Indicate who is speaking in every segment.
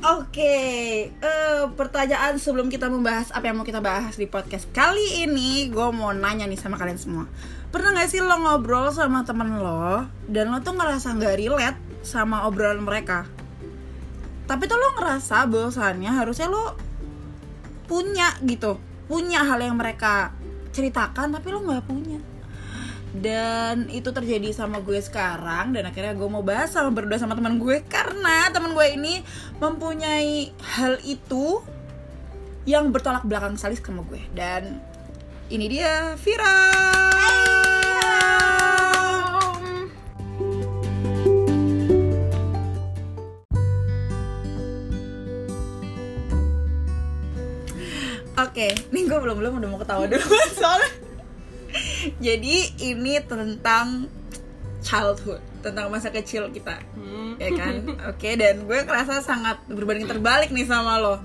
Speaker 1: Oke, eh, pertanyaan sebelum kita membahas apa yang mau kita bahas di podcast kali ini, gue mau nanya nih sama kalian semua. Pernah gak sih lo ngobrol sama temen lo dan lo tuh ngerasa nggak relate sama obrolan mereka? Tapi tuh lo ngerasa bahwasannya harusnya lo punya gitu, punya hal yang mereka ceritakan tapi lo nggak punya. Dan itu terjadi sama gue sekarang dan akhirnya gue mau bahas sama berdua sama teman gue karena teman gue ini mempunyai hal itu yang bertolak belakang sekali sama gue dan ini dia Vira. Oke, nih gue belum belum udah mau ketawa dulu soalnya. Jadi ini tentang childhood, tentang masa kecil kita
Speaker 2: Hmm.
Speaker 1: ya kan oke dan gue kerasa sangat berbanding terbalik nih sama lo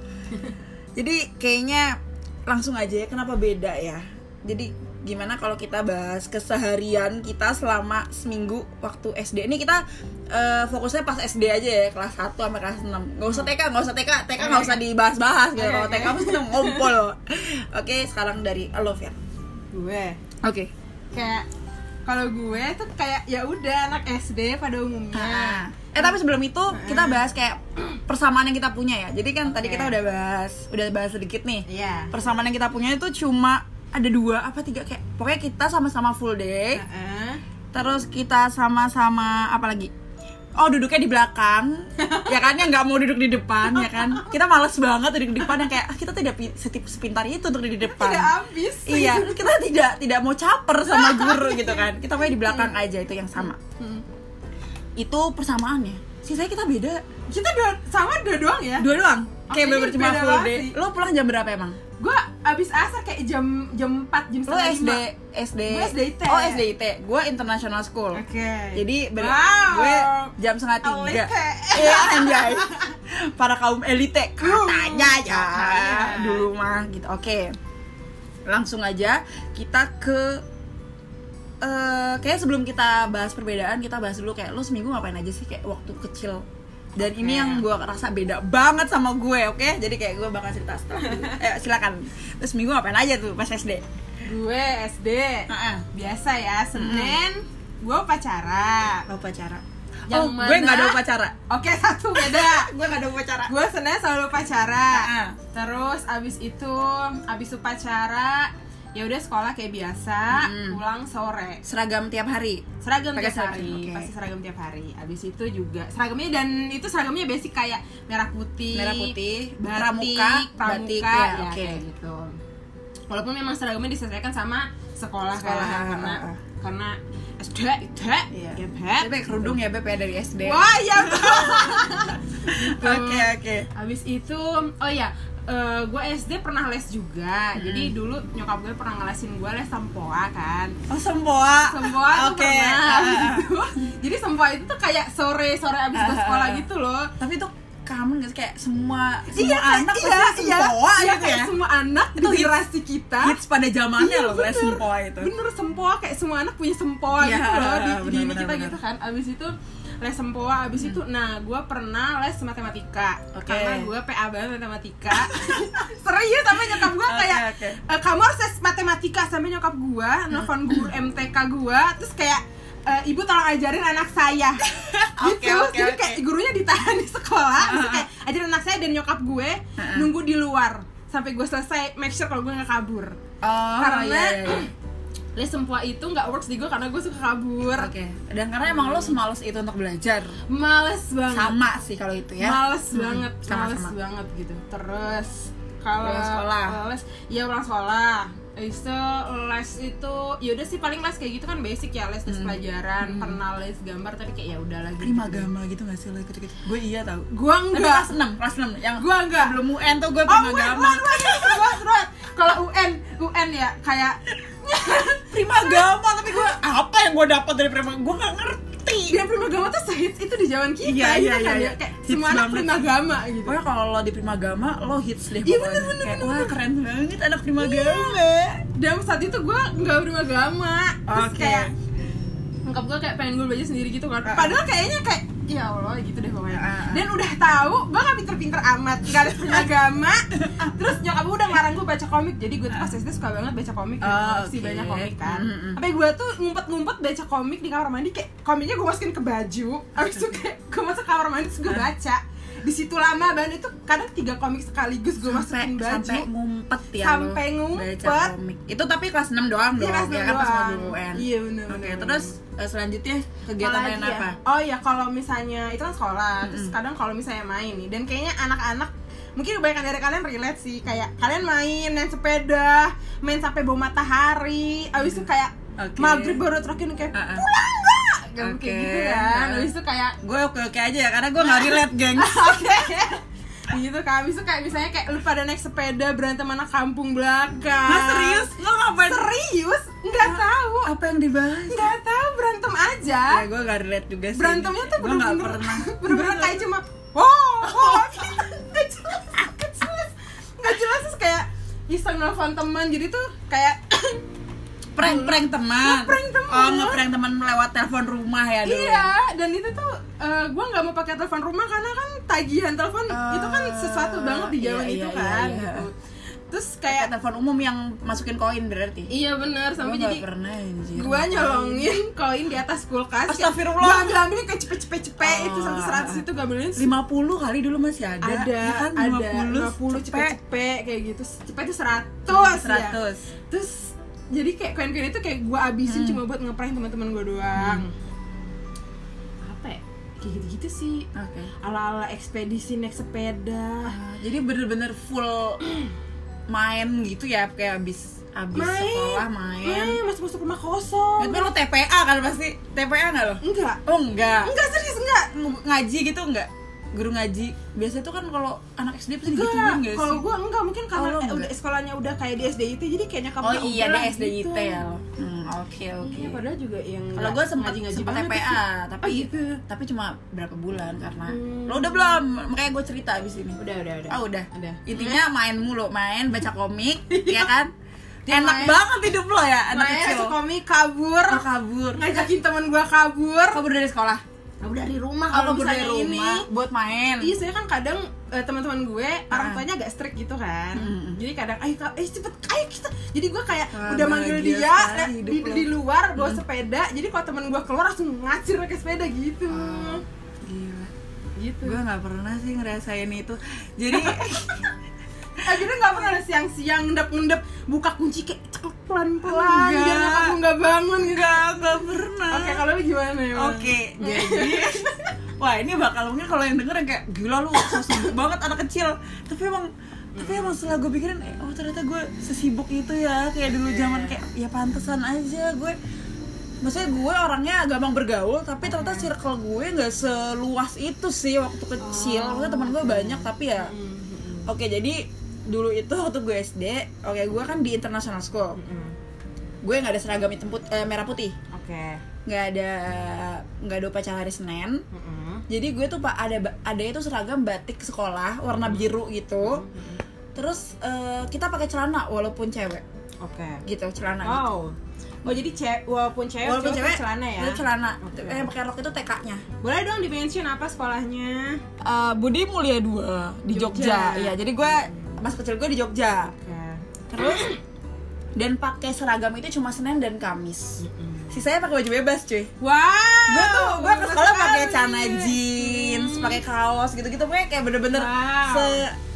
Speaker 1: jadi kayaknya langsung aja ya kenapa beda ya jadi gimana kalau kita bahas keseharian kita selama seminggu waktu SD ini kita eh, fokusnya pas SD aja ya kelas 1 sampai kelas 6 nggak usah TK nggak usah TK TK nggak usah dibahas-bahas gitu kalau TK pasti udah ngompol oke sekarang dari ya. lo Fir
Speaker 2: gue
Speaker 1: oke
Speaker 2: kayak kalau gue tuh kayak ya udah anak SD pada umumnya
Speaker 1: Eh tapi sebelum itu kita bahas kayak persamaan yang kita punya ya. Jadi kan tadi
Speaker 2: Oke.
Speaker 1: kita udah bahas, udah bahas sedikit nih.
Speaker 2: iya
Speaker 1: Persamaan yang kita punya itu cuma ada dua apa tiga kayak pokoknya kita sama-sama full day.
Speaker 2: Heeh.
Speaker 1: Terus kita sama-sama apa lagi? Oh duduknya di belakang, ya kan? Yang nggak mau duduk di depan, ya kan? Kita males banget duduk di depan yang kayak "Ah, kita tidak pi- setip sepintar itu untuk duduk di depan
Speaker 2: tidak habis
Speaker 1: iya kita tidak tidak mau caper sama guru gitu kan kita pokoknya di belakang
Speaker 2: Iya.
Speaker 1: aja itu yang sama
Speaker 2: Hmm.
Speaker 1: itu persamaannya sisanya kita beda
Speaker 2: kita dua, sama dua doang ya
Speaker 1: dua doang kayak
Speaker 2: Oke,
Speaker 1: bener
Speaker 2: ini
Speaker 1: cuma
Speaker 2: beda
Speaker 1: full
Speaker 2: banget
Speaker 1: day
Speaker 2: sih.
Speaker 1: lo pulang jam berapa emang
Speaker 2: gue abis asar kayak jam jam 4 jam
Speaker 1: lo
Speaker 2: setengah
Speaker 1: SD
Speaker 2: lima.
Speaker 1: SD
Speaker 2: Gua SDIT.
Speaker 1: oh SDIT gue international school
Speaker 2: oke
Speaker 1: jadi ber-
Speaker 2: Wow.
Speaker 1: gue jam setengah tiga
Speaker 2: Elite.
Speaker 1: iya anjay para kaum elite katanya ya
Speaker 2: Iya, Katanya.
Speaker 1: dulu mah gitu oke langsung aja kita ke eh kayak sebelum kita bahas perbedaan kita bahas dulu kayak lo seminggu ngapain aja sih kayak waktu kecil dan ini
Speaker 2: Oke.
Speaker 1: yang gue rasa beda banget sama gue oke jadi kayak gue bakal cerita setelah dulu. eh, silakan terus minggu ngapain aja tuh pas SD
Speaker 2: gue SD
Speaker 1: Heeh.
Speaker 2: biasa ya Senin gue upacara
Speaker 1: lo upacara
Speaker 2: Yang
Speaker 1: oh gue nggak ada
Speaker 2: mana-
Speaker 1: upacara
Speaker 2: oke satu beda
Speaker 1: gue nggak ada upacara
Speaker 2: gue Senin selalu upacara
Speaker 1: Heeh.
Speaker 2: terus abis itu abis upacara ya udah sekolah kayak biasa
Speaker 1: Mm.
Speaker 2: pulang sore
Speaker 1: seragam tiap hari
Speaker 2: seragam
Speaker 1: Pakai
Speaker 2: tiap
Speaker 1: seragam,
Speaker 2: hari
Speaker 1: oke.
Speaker 2: pasti seragam tiap hari abis itu juga seragamnya dan itu seragamnya basic kayak merah putih
Speaker 1: merah putih
Speaker 2: batik,
Speaker 1: pramuka batik
Speaker 2: pramuka,
Speaker 1: ya,
Speaker 2: ya,
Speaker 1: oke
Speaker 2: kayak gitu walaupun memang seragamnya disesuaikan sama sekolah,
Speaker 1: Sekolah,
Speaker 2: kan,
Speaker 1: ah,
Speaker 2: karena
Speaker 1: ah, ah.
Speaker 2: karena sudah tidak
Speaker 1: Iya.
Speaker 2: ya
Speaker 1: Tapi
Speaker 2: Beb.
Speaker 1: pakai kerudung ya Beb ya dari Gitu. SD
Speaker 2: wah ya
Speaker 1: oke oke
Speaker 2: Habis itu, oh ya, gue SD pernah les juga.
Speaker 1: Hmm.
Speaker 2: Jadi dulu nyokap gue pernah ngelesin gue les sempoa kan.
Speaker 1: oh sempoa
Speaker 2: Sempoa tuh
Speaker 1: Oke.
Speaker 2: pernah.
Speaker 1: Ah,
Speaker 2: Habis
Speaker 1: ah, ah.
Speaker 2: itu, jadi sempoa itu tuh kayak sore sore abis ke
Speaker 1: Ah, ah,
Speaker 2: sekolah
Speaker 1: ah.
Speaker 2: gitu loh.
Speaker 1: tapi itu common gak sih kayak semua semua
Speaker 2: Iya, kayak-
Speaker 1: anak pasti
Speaker 2: iya, iya,
Speaker 1: sempoa
Speaker 2: iya,
Speaker 1: gitu
Speaker 2: kayak
Speaker 1: ya
Speaker 2: Semua anak
Speaker 1: Itu
Speaker 2: itu
Speaker 1: hits-
Speaker 2: generasi kita.
Speaker 1: hits pada zamannya
Speaker 2: Iya,
Speaker 1: loh les
Speaker 2: bener.
Speaker 1: sempoa itu
Speaker 2: bener sempoa kayak semua anak punya sempoa
Speaker 1: Iya,
Speaker 2: gitu loh di, di
Speaker 1: bener,
Speaker 2: ini
Speaker 1: bener,
Speaker 2: kita
Speaker 1: bener. Hmm.
Speaker 2: gitu kan abis itu les sempoa abis itu nah gue pernah les matematika
Speaker 1: Oke.
Speaker 2: karena gue PA banget matematika serius sama nyokap gue
Speaker 1: Oke,
Speaker 2: kayak
Speaker 1: oke. Hmm.
Speaker 2: "Eh, kamu harus les matematika sampai nyokap gue nelfon guru MTK gue terus kayak "Eh, ibu tolong ajarin anak saya
Speaker 1: Oke,
Speaker 2: gitu
Speaker 1: oke,
Speaker 2: jadi
Speaker 1: oke.
Speaker 2: kayak gurunya ditahan di sekolah terus kayak ajarin anak saya dan nyokap gue
Speaker 1: Ah.
Speaker 2: nunggu di luar sampai gue selesai make sure kalau gue nggak kabur
Speaker 1: oh
Speaker 2: karena
Speaker 1: iya, iya, iya.
Speaker 2: les sempoa itu nggak works di gue karena gue suka kabur
Speaker 1: oke dan karena emang lo semales itu untuk belajar
Speaker 2: males banget
Speaker 1: sama sih kalau itu ya
Speaker 2: males
Speaker 1: Hmm,
Speaker 2: banget
Speaker 1: sama-sama.
Speaker 2: males banget gitu terus kalau
Speaker 1: Pulang sekolah.
Speaker 2: les ya pulang sekolah Habis itu les itu yaudah sih paling les kayak gitu kan basic ya les les pelajaran pernah les gambar tapi kayak ya udah lagi
Speaker 1: prima gama gitu gak sih lo ikut-ikut gue iya tau
Speaker 2: gue
Speaker 1: Tapi kelas 6,
Speaker 2: enggak
Speaker 1: kelas 6 yang
Speaker 2: gue enggak
Speaker 1: belum UN tuh gue
Speaker 2: oh
Speaker 1: prima
Speaker 2: gue
Speaker 1: gama
Speaker 2: kalau UN UN ya kayak
Speaker 1: prima gama tapi gue apa yang gue dapat dari prima gue gak ngerti
Speaker 2: dan primagama tuh sehits itu di zaman kita
Speaker 1: Iya,
Speaker 2: gitu
Speaker 1: iya,
Speaker 2: kan
Speaker 1: iya.
Speaker 2: ya. kayak
Speaker 1: Hits
Speaker 2: semua anak
Speaker 1: banget.
Speaker 2: primagama gitu
Speaker 1: pokoknya kalau lo di prima gama lo hits deh pokoknya.
Speaker 2: Iya, bener, bener,
Speaker 1: Kayak,
Speaker 2: bener,
Speaker 1: wah keren banget anak prima gama
Speaker 2: dan saat itu gue nggak primagama terus
Speaker 1: Oke.
Speaker 2: kayak ngungkap gue kayak pengen gue belajar sendiri gitu kan
Speaker 1: Ah.
Speaker 2: padahal kayaknya kayak ya Allah gitu deh pokoknya
Speaker 1: Ah, ah.
Speaker 2: dan udah tahu gue gak pinter-pinter amat gak ada punya agama terus nyokap gue udah ngarang gue baca komik jadi gue tuh pas SD suka banget baca komik
Speaker 1: Oh, Ah.
Speaker 2: koleksi
Speaker 1: oke.
Speaker 2: banyak komik kan
Speaker 1: Mm, mm.
Speaker 2: sampai gue tuh ngumpet-ngumpet baca komik di kamar mandi kayak komiknya gue masukin ke baju abis itu kayak gue masuk kamar mandi terus gue
Speaker 1: Ah.
Speaker 2: baca di situ lama banget itu kadang tiga komik sekaligus gue
Speaker 1: sampai
Speaker 2: masukin baju
Speaker 1: sampai ngumpet ya
Speaker 2: Sampai
Speaker 1: lo
Speaker 2: ngumpet.
Speaker 1: baca komik. itu tapi kelas 6 doang
Speaker 2: Iya,
Speaker 1: dong
Speaker 2: kelas
Speaker 1: ya
Speaker 2: enam
Speaker 1: kan pas mau di
Speaker 2: doang.
Speaker 1: UN
Speaker 2: Iya, bener,
Speaker 1: oke
Speaker 2: bener,
Speaker 1: terus eh, selanjutnya kegiatan
Speaker 2: Apalagi
Speaker 1: lain
Speaker 2: ya?
Speaker 1: apa
Speaker 2: Oh ya kalau misalnya itu kan sekolah, terus
Speaker 1: Mm-mm.
Speaker 2: kadang kalau misalnya main nih, dan kayaknya anak-anak mungkin kebanyakan dari kalian relate sih kayak kalian main main sepeda, main sampai bau matahari, abis itu kayak
Speaker 1: Oke.
Speaker 2: maghrib baru terokin kayak
Speaker 1: Ah, ah.
Speaker 2: pulang gak, gak
Speaker 1: Oke.
Speaker 2: kayak gitu kan,
Speaker 1: Ah.
Speaker 2: abis itu kayak
Speaker 1: gue oke oke aja ya karena gue nggak relate geng
Speaker 2: oke gitu kan, abis itu kayak misalnya kayak lu pada naik sepeda berantem anak kampung belakang.
Speaker 1: Mas serius lo ngapain
Speaker 2: Serius? Nggak tahu,
Speaker 1: apa yang dibahas
Speaker 2: nggak tahu berantem aja.
Speaker 1: ya gue nggak relate juga sih
Speaker 2: berantemnya tuh
Speaker 1: gue nggak
Speaker 2: bener-bener
Speaker 1: pernah
Speaker 2: bener-bener kayak cuma wow wow nggak jelas nggak jelas nggak jelas terus kayak iseng nelfon teman jadi tuh kayak
Speaker 1: prank prank teman
Speaker 2: Nge-prank teman.
Speaker 1: oh ngeprank teman lewat telepon rumah ya dulu
Speaker 2: iya dan itu tuh eh, gua nggak mau pakai telepon rumah karena kan tagihan telepon
Speaker 1: Eh,
Speaker 2: itu kan sesuatu banget di zaman
Speaker 1: iya,
Speaker 2: itu
Speaker 1: iya, iya,
Speaker 2: kan
Speaker 1: iya.
Speaker 2: gitu. terus
Speaker 1: kayak
Speaker 2: kayak
Speaker 1: telepon umum yang masukin koin berarti
Speaker 2: iya bener sampai
Speaker 1: gue
Speaker 2: jadi
Speaker 1: nggak pernah anjir
Speaker 2: gua nyolongin koin di atas kulkas
Speaker 1: Astagfirullah.
Speaker 2: gua ambil ambilnya kayak cepet cepet cepet itu
Speaker 1: Oh.
Speaker 2: sampai seratus itu gua ambilin
Speaker 1: 50 kali dulu masih ada
Speaker 2: ada
Speaker 1: ya kan?
Speaker 2: ada
Speaker 1: 50,
Speaker 2: 50
Speaker 1: cepet
Speaker 2: cepet-cepet kayak gitu cepet itu 100 ya
Speaker 1: 100
Speaker 2: terus jadi kayak koin-koin itu kayak gue abisin
Speaker 1: Hmm.
Speaker 2: cuma buat ngeprank teman-teman gue doang apa ya? kayak gitu-gitu sih
Speaker 1: oke
Speaker 2: ala-ala ekspedisi naik sepeda
Speaker 1: Ah, jadi bener-bener full main gitu ya kayak abis abis sekolah main
Speaker 2: main Eh, masuk masuk rumah kosong
Speaker 1: tapi lo TPA kan pasti TPA nggak lo
Speaker 2: enggak
Speaker 1: oh enggak
Speaker 2: enggak serius enggak
Speaker 1: Ng- ngaji gitu enggak guru ngaji biasa tuh kan kalau anak SD pasti digituin gak
Speaker 2: enggak kalau
Speaker 1: sih
Speaker 2: gue enggak mungkin karena
Speaker 1: Oh, lo
Speaker 2: eh, udah
Speaker 1: enggak.
Speaker 2: sekolahnya udah kayak di SDIT jadi kayaknya kamu gitu.
Speaker 1: oh iya deh SDIT ya lo Hmm, oke oke
Speaker 2: Iya, padahal juga yang
Speaker 1: kalau gue sempat
Speaker 2: ngaji-ngaji
Speaker 1: sempat
Speaker 2: banget
Speaker 1: TPA
Speaker 2: Oh,
Speaker 1: tapi
Speaker 2: gitu.
Speaker 1: tapi cuma berapa bulan karena
Speaker 2: Hmm.
Speaker 1: lo udah belum makanya gue cerita abis ini
Speaker 2: udah udah udah
Speaker 1: Ah udah.
Speaker 2: Udah. Iya.
Speaker 1: Intinya main mulu, main baca komik, ya kan? Enak
Speaker 2: main.
Speaker 1: banget hidup lo ya, anak
Speaker 2: Maya
Speaker 1: kecil.
Speaker 2: suka komik kabur
Speaker 1: Lo kabur.
Speaker 2: ngajakin teman gua kabur
Speaker 1: Kabur dari sekolah.
Speaker 2: kabur dari rumah
Speaker 1: Kalau
Speaker 2: kalau
Speaker 1: kabur dari
Speaker 2: misalnya ini
Speaker 1: rumah buat main.
Speaker 2: iya saya kan kadang eh, teman-teman gue orang
Speaker 1: Ah.
Speaker 2: tuanya agak strict gitu kan
Speaker 1: Mm-mm.
Speaker 2: jadi kadang ayo Kak, eh cepet ayo kita jadi gua kayak
Speaker 1: Ah,
Speaker 2: udah manggil
Speaker 1: bahagia
Speaker 2: dia
Speaker 1: sekali Mm.
Speaker 2: le-
Speaker 1: hidup
Speaker 2: di,
Speaker 1: lo.
Speaker 2: di luar bawa sepeda jadi kalau teman gua keluar langsung ngacir pakai sepeda gitu
Speaker 1: Ah, Gila.
Speaker 2: gitu
Speaker 1: Gue nggak pernah sih ngerasain itu. Jadi
Speaker 2: akhirnya nggak pernah ada siang-siang ngedep-ngedep buka kunci kayak cek pelan-pelan
Speaker 1: Enggak.
Speaker 2: jangan aku nggak bangun gitu
Speaker 1: nggak nggak pernah.
Speaker 2: oke kalau lu gimana ya Bang?
Speaker 1: Oke, jadi Iya, Wah ini bakal mungkin kalau yang denger yang kayak Gila lu so sibuk banget anak kecil Tapi emang tapi emang setelah gue pikirin eh, oh ternyata gue sesibuk itu ya kayak dulu zaman kayak ya pantesan aja gue maksudnya gue orangnya gampang bergaul tapi ternyata circle gue nggak seluas itu sih waktu kecil maksudnya teman gue banyak tapi ya
Speaker 2: Mm-mm.
Speaker 1: oke jadi dulu itu waktu gue SD oke gue kan di international school
Speaker 2: Mm-mm.
Speaker 1: gue nggak ada seragam hitam put- eh, merah putih
Speaker 2: oke
Speaker 1: nggak ada nggak ada upacara hari Senin
Speaker 2: Mm-mm.
Speaker 1: jadi gue tuh pak ada ba- ada itu seragam batik sekolah warna
Speaker 2: Hmm.
Speaker 1: biru gitu terus eh, kita pakai celana walaupun cewek
Speaker 2: Oke.
Speaker 1: gitu celana gitu.
Speaker 2: Wow. Oh jadi cewek walaupun cewek
Speaker 1: walaupun
Speaker 2: cewek,
Speaker 1: cewek
Speaker 2: pakai celana ya.
Speaker 1: itu celana
Speaker 2: Oke.
Speaker 1: Eh, yang pakai rok itu TK nya
Speaker 2: Boleh dong di mention apa sekolahnya?
Speaker 1: Eh, Budi Mulia 2 di
Speaker 2: Jogja.
Speaker 1: Jogja, Iya jadi gue mas kecil gue di Jogja
Speaker 2: Oke.
Speaker 1: terus dan pakai seragam itu cuma Senin dan
Speaker 2: Iya.
Speaker 1: Kamis sisanya pakai baju bebas cuy
Speaker 2: Wow.
Speaker 1: gue tuh gue ke sekolah
Speaker 2: Bagus
Speaker 1: pakai
Speaker 2: sekali.
Speaker 1: celana jeans pakai kaos gitu gitu pokoknya kayak bener-bener
Speaker 2: Wow.
Speaker 1: se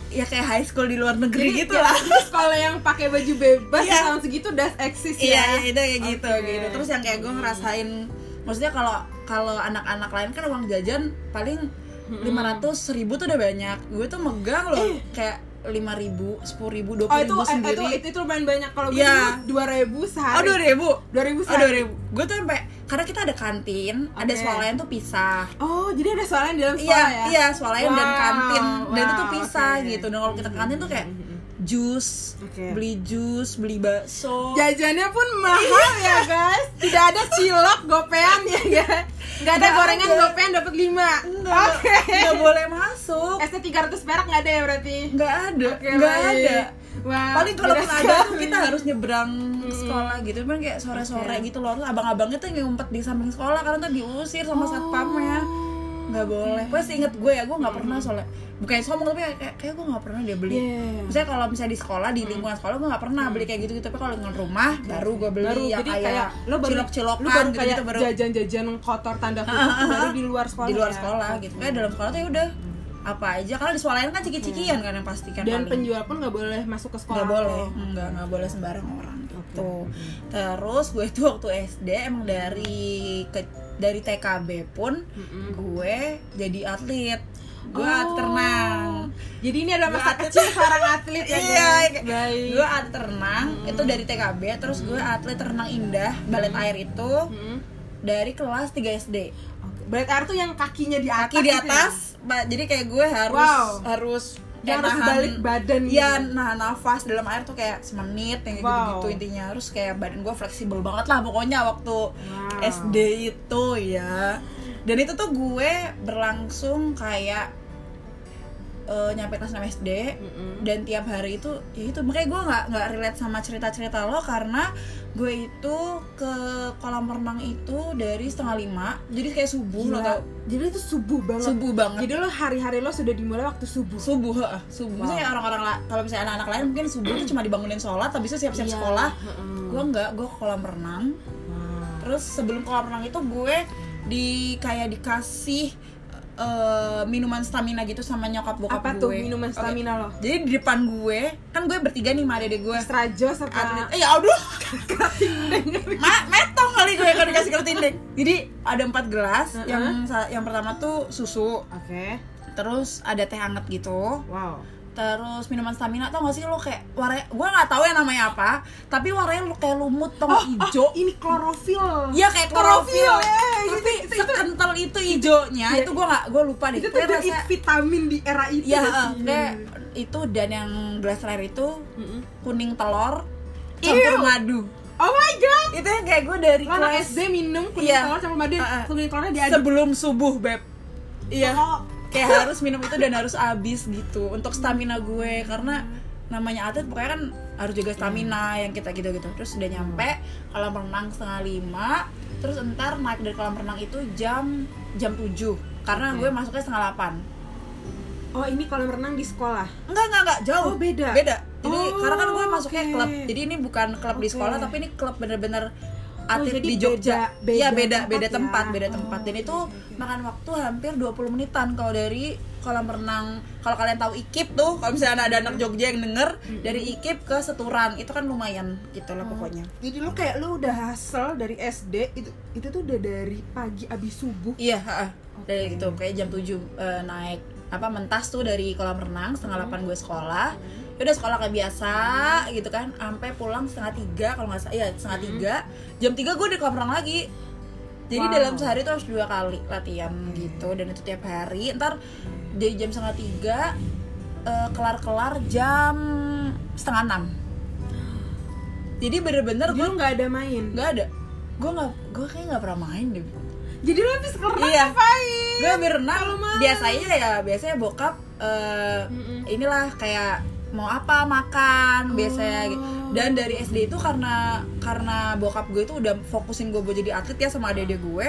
Speaker 1: ya kayak high school di luar negeri
Speaker 2: Jadi
Speaker 1: gitu lah
Speaker 2: ya, sekolah yang pakai baju bebas
Speaker 1: Iya.
Speaker 2: di tahun segitu udah eksis
Speaker 1: iya
Speaker 2: ya.
Speaker 1: iya, itu kayak gitu
Speaker 2: Oke.
Speaker 1: gitu terus yang kayak gue ngerasain maksudnya kalau kalau anak-anak lain kan uang jajan paling lima ratus ribu tuh udah banyak gue tuh megang loh kayak lima ribu sepuluh ribu dua
Speaker 2: Eh. Oh itu eh,
Speaker 1: sendiri
Speaker 2: itu itu, itu lumayan banyak kalau gue
Speaker 1: Iya.
Speaker 2: dua
Speaker 1: Oh
Speaker 2: ribu
Speaker 1: dua
Speaker 2: sehari.
Speaker 1: ribu,
Speaker 2: Dua ribu
Speaker 1: oh dua
Speaker 2: sehari.
Speaker 1: ribu. Gue tuh sampai karena kita ada kantin, ada
Speaker 2: Oke.
Speaker 1: sekolah tuh pisah.
Speaker 2: Oh, jadi ada soalnya di dalam
Speaker 1: Iya,
Speaker 2: sekolah ya?
Speaker 1: iya, swalayan dan
Speaker 2: Wow,
Speaker 1: kantin. Dan itu tuh
Speaker 2: wow,
Speaker 1: pisah
Speaker 2: oke. Mm-hmm,
Speaker 1: gitu. Dan kalau kita ke kantin tuh kayak jus,
Speaker 2: Oke. Ya,
Speaker 1: beli jus, beli bakso.
Speaker 2: Jajannya pun mahal ya guys Tidak ada cilok gopean ya guys Gak ada
Speaker 1: Nggak
Speaker 2: gorengan
Speaker 1: ada.
Speaker 2: gopean dapat 5
Speaker 1: Enggak,
Speaker 2: Oke
Speaker 1: enggak boleh masuk.
Speaker 2: SD 300 perak gak ada ya berarti?
Speaker 1: Enggak ada,
Speaker 2: Oke,
Speaker 1: enggak
Speaker 2: baik.
Speaker 1: ada.
Speaker 2: Wah,
Speaker 1: Paling kalau pun ada
Speaker 2: beda
Speaker 1: tuh
Speaker 2: sekali. Mm-hmm.
Speaker 1: kita harus nyebrang ke sekolah gitu. Cuman kayak sore-sore
Speaker 2: Oke. Oh, ya.
Speaker 1: gitu loh. Terus abang-abangnya tuh ngumpet di samping sekolah karena tuh diusir sama satpamnya. nggak boleh pokoknya seinget gue ya gue nggak pernah
Speaker 2: Mm-hmm.
Speaker 1: soalnya bukannya sombong tapi kayak kayak gue nggak pernah dia beli
Speaker 2: Iya.
Speaker 1: misalnya kalau misalnya di sekolah
Speaker 2: Mm-hmm.
Speaker 1: di lingkungan sekolah gue nggak pernah beli kayak gitu gitu tapi kalau dengan rumah baru gue beli
Speaker 2: baru
Speaker 1: yang
Speaker 2: jadi ya, kayak lo baru
Speaker 1: cilok cilokan
Speaker 2: lu baru Ah,
Speaker 1: gitu,
Speaker 2: kayak
Speaker 1: baru
Speaker 2: jajan-jajan kotor tanda kutip tuh baru di luar sekolah
Speaker 1: di luar
Speaker 2: ya.
Speaker 1: sekolah gitu kayak dalam sekolah tuh ya udah apa aja karena di sekolah lain kan ciki-cikian kan yang pasti kan
Speaker 2: dan
Speaker 1: paling.
Speaker 2: penjual pun nggak boleh masuk ke sekolah
Speaker 1: nggak boleh
Speaker 2: lo.
Speaker 1: nggak nggak boleh sembarang orang gitu terus gue tuh waktu SD emang dari ke, dari TKB pun
Speaker 2: Mm-mm.
Speaker 1: gue jadi atlet gue
Speaker 2: Oh.
Speaker 1: alternang
Speaker 2: jadi ini adalah
Speaker 1: Gua
Speaker 2: masa kecil seorang atlet
Speaker 1: Iya,
Speaker 2: ya guys?
Speaker 1: kayak-
Speaker 2: baik
Speaker 1: gue atlet renang itu dari TKB terus gue atlet renang indah balet air itu
Speaker 2: Mm-mm.
Speaker 1: dari kelas 3 SD
Speaker 2: Oke. Berat air tuh yang kakinya di atas
Speaker 1: kaki di
Speaker 2: gitu ya?
Speaker 1: atas ba- jadi kayak gue harus
Speaker 2: Wow.
Speaker 1: harus
Speaker 2: Dia
Speaker 1: kayak
Speaker 2: harus
Speaker 1: nahan-
Speaker 2: balik badan
Speaker 1: iya
Speaker 2: gitu.
Speaker 1: nah nafas dalam air tuh kayak semenit yang
Speaker 2: Wow.
Speaker 1: gitu gitu intinya harus kayak badan gue fleksibel banget lah pokoknya waktu
Speaker 2: Wow.
Speaker 1: SD itu ya dan itu tuh gue berlangsung kayak eh, nyampe kelas 6 SD
Speaker 2: Mm-mm.
Speaker 1: dan tiap hari itu ya itu makanya gue nggak nggak relate sama cerita cerita lo karena gue itu ke kolam renang itu dari setengah lima jadi kayak subuh lo
Speaker 2: Gila.
Speaker 1: tau
Speaker 2: jadi itu subuh banget
Speaker 1: subuh banget
Speaker 2: jadi lo hari-hari lo sudah dimulai waktu subuh
Speaker 1: subuh heeh, subuh
Speaker 2: Wow.
Speaker 1: misalnya orang-orang la- kalau misalnya anak-anak lain mungkin subuh tuh cuma dibangunin sholat habis itu siap-siap
Speaker 2: Iya.
Speaker 1: sekolah
Speaker 2: Heeh.
Speaker 1: gue enggak gue ke kolam renang
Speaker 2: Wow.
Speaker 1: terus sebelum kolam renang itu gue di kayak dikasih eh, minuman stamina gitu sama nyokap bokap
Speaker 2: apa
Speaker 1: gue
Speaker 2: tuh minuman
Speaker 1: Oke.
Speaker 2: stamina lo
Speaker 1: jadi di depan gue kan gue bertiga nih sama adek gue
Speaker 2: Extra jos apa
Speaker 1: atlet eh ya aduh Ma, metong kali gue kalau dikasih kertin deh jadi ada empat gelas
Speaker 2: Heeh.
Speaker 1: yang sa- yang pertama tuh susu
Speaker 2: oke
Speaker 1: terus ada teh hangat gitu
Speaker 2: wow
Speaker 1: terus minuman stamina tau gak sih lo kayak warna gue nggak tahu ya namanya apa tapi warnanya lo kayak lumut tau
Speaker 2: oh,
Speaker 1: nggak, ijo
Speaker 2: oh, ini klorofil
Speaker 1: Iya kayak klorofil
Speaker 2: iya,
Speaker 1: tapi
Speaker 2: itu, itu,
Speaker 1: sekental itu ijonya
Speaker 2: Iya.
Speaker 1: itu gue nggak gue lupa deh
Speaker 2: itu tuh
Speaker 1: Kayak
Speaker 2: the
Speaker 1: rasa-
Speaker 2: vitamin di era itu
Speaker 1: Iya, eh,
Speaker 2: gak sih?
Speaker 1: kayak itu dan yang gelas terakhir itu
Speaker 2: Mm-mm.
Speaker 1: kuning telur
Speaker 2: Ew.
Speaker 1: campur madu
Speaker 2: oh my god
Speaker 1: itu yang kayak gue dari
Speaker 2: lo anak
Speaker 1: kelas
Speaker 2: SD minum kuning
Speaker 1: Iya.
Speaker 2: telur sama madu
Speaker 1: Heeh.
Speaker 2: kuning telurnya diaduk
Speaker 1: sebelum subuh beb iya
Speaker 2: Oh.
Speaker 1: kayak harus minum itu dan harus habis gitu untuk stamina gue karena namanya atlet pokoknya kan harus jaga stamina yang kita gitu gitu terus udah nyampe kolam renang setengah lima terus entar naik dari kolam renang itu jam jam tujuh karena gue masuknya setengah delapan
Speaker 2: oh ini kolam renang di sekolah
Speaker 1: enggak enggak enggak jauh
Speaker 2: Oh, beda?
Speaker 1: beda jadi
Speaker 2: Oh,
Speaker 1: karena kan gue masuknya
Speaker 2: oke.
Speaker 1: klub jadi ini bukan klub di
Speaker 2: Oke. Oh,
Speaker 1: sekolah tapi ini klub bener-bener atlet
Speaker 2: jadi
Speaker 1: di Jogja
Speaker 2: beda- beda
Speaker 1: Iya, beda
Speaker 2: tempat
Speaker 1: beda tempat beda
Speaker 2: ya. Oh,
Speaker 1: tempat dan itu
Speaker 2: oke, oke.
Speaker 1: makan waktu hampir 20 menitan kalau dari kolam renang kalau kalian tahu ikip tuh kalau misalnya ada anak Jogja yang denger dari ikip ke seturan itu kan lumayan gitu
Speaker 2: Oh,
Speaker 1: lah pokoknya
Speaker 2: jadi lo kayak lo udah hasil dari SD itu itu tuh udah dari pagi abis subuh
Speaker 1: Iya, heeh. dari
Speaker 2: Oke.
Speaker 1: gitu kayak jam 7 eh, naik apa mentas tuh dari kolam renang setengah
Speaker 2: Hmm.
Speaker 1: 8 gue sekolah. Ya udah sekolah kayak biasa gitu kan, sampai pulang setengah tiga kalau nggak salah, iya
Speaker 2: Hmm.
Speaker 1: setengah tiga. Jam 3 gue di kolam renang lagi. Jadi
Speaker 2: Wow.
Speaker 1: dalam sehari tuh harus dua kali latihan gitu dan itu tiap hari. Ntar dari jam setengah tiga eh, kelar-kelar jam setengah enam. Jadi bener-bener
Speaker 2: jadi
Speaker 1: gue
Speaker 2: lo nggak ada main
Speaker 1: nggak ada, gue nggak, gue kayak nggak pernah main deh.
Speaker 2: jadi lo abis renang
Speaker 1: Iya.
Speaker 2: ngapain
Speaker 1: gue berenang
Speaker 2: Kalau malam.
Speaker 1: biasanya ya biasanya bokap eh,
Speaker 2: Mm-mm.
Speaker 1: inilah kayak mau apa makan biasanya gitu.
Speaker 2: Oh.
Speaker 1: dan dari SD itu karena karena bokap gue itu udah fokusin gue buat jadi atlet ya sama adik-adik gue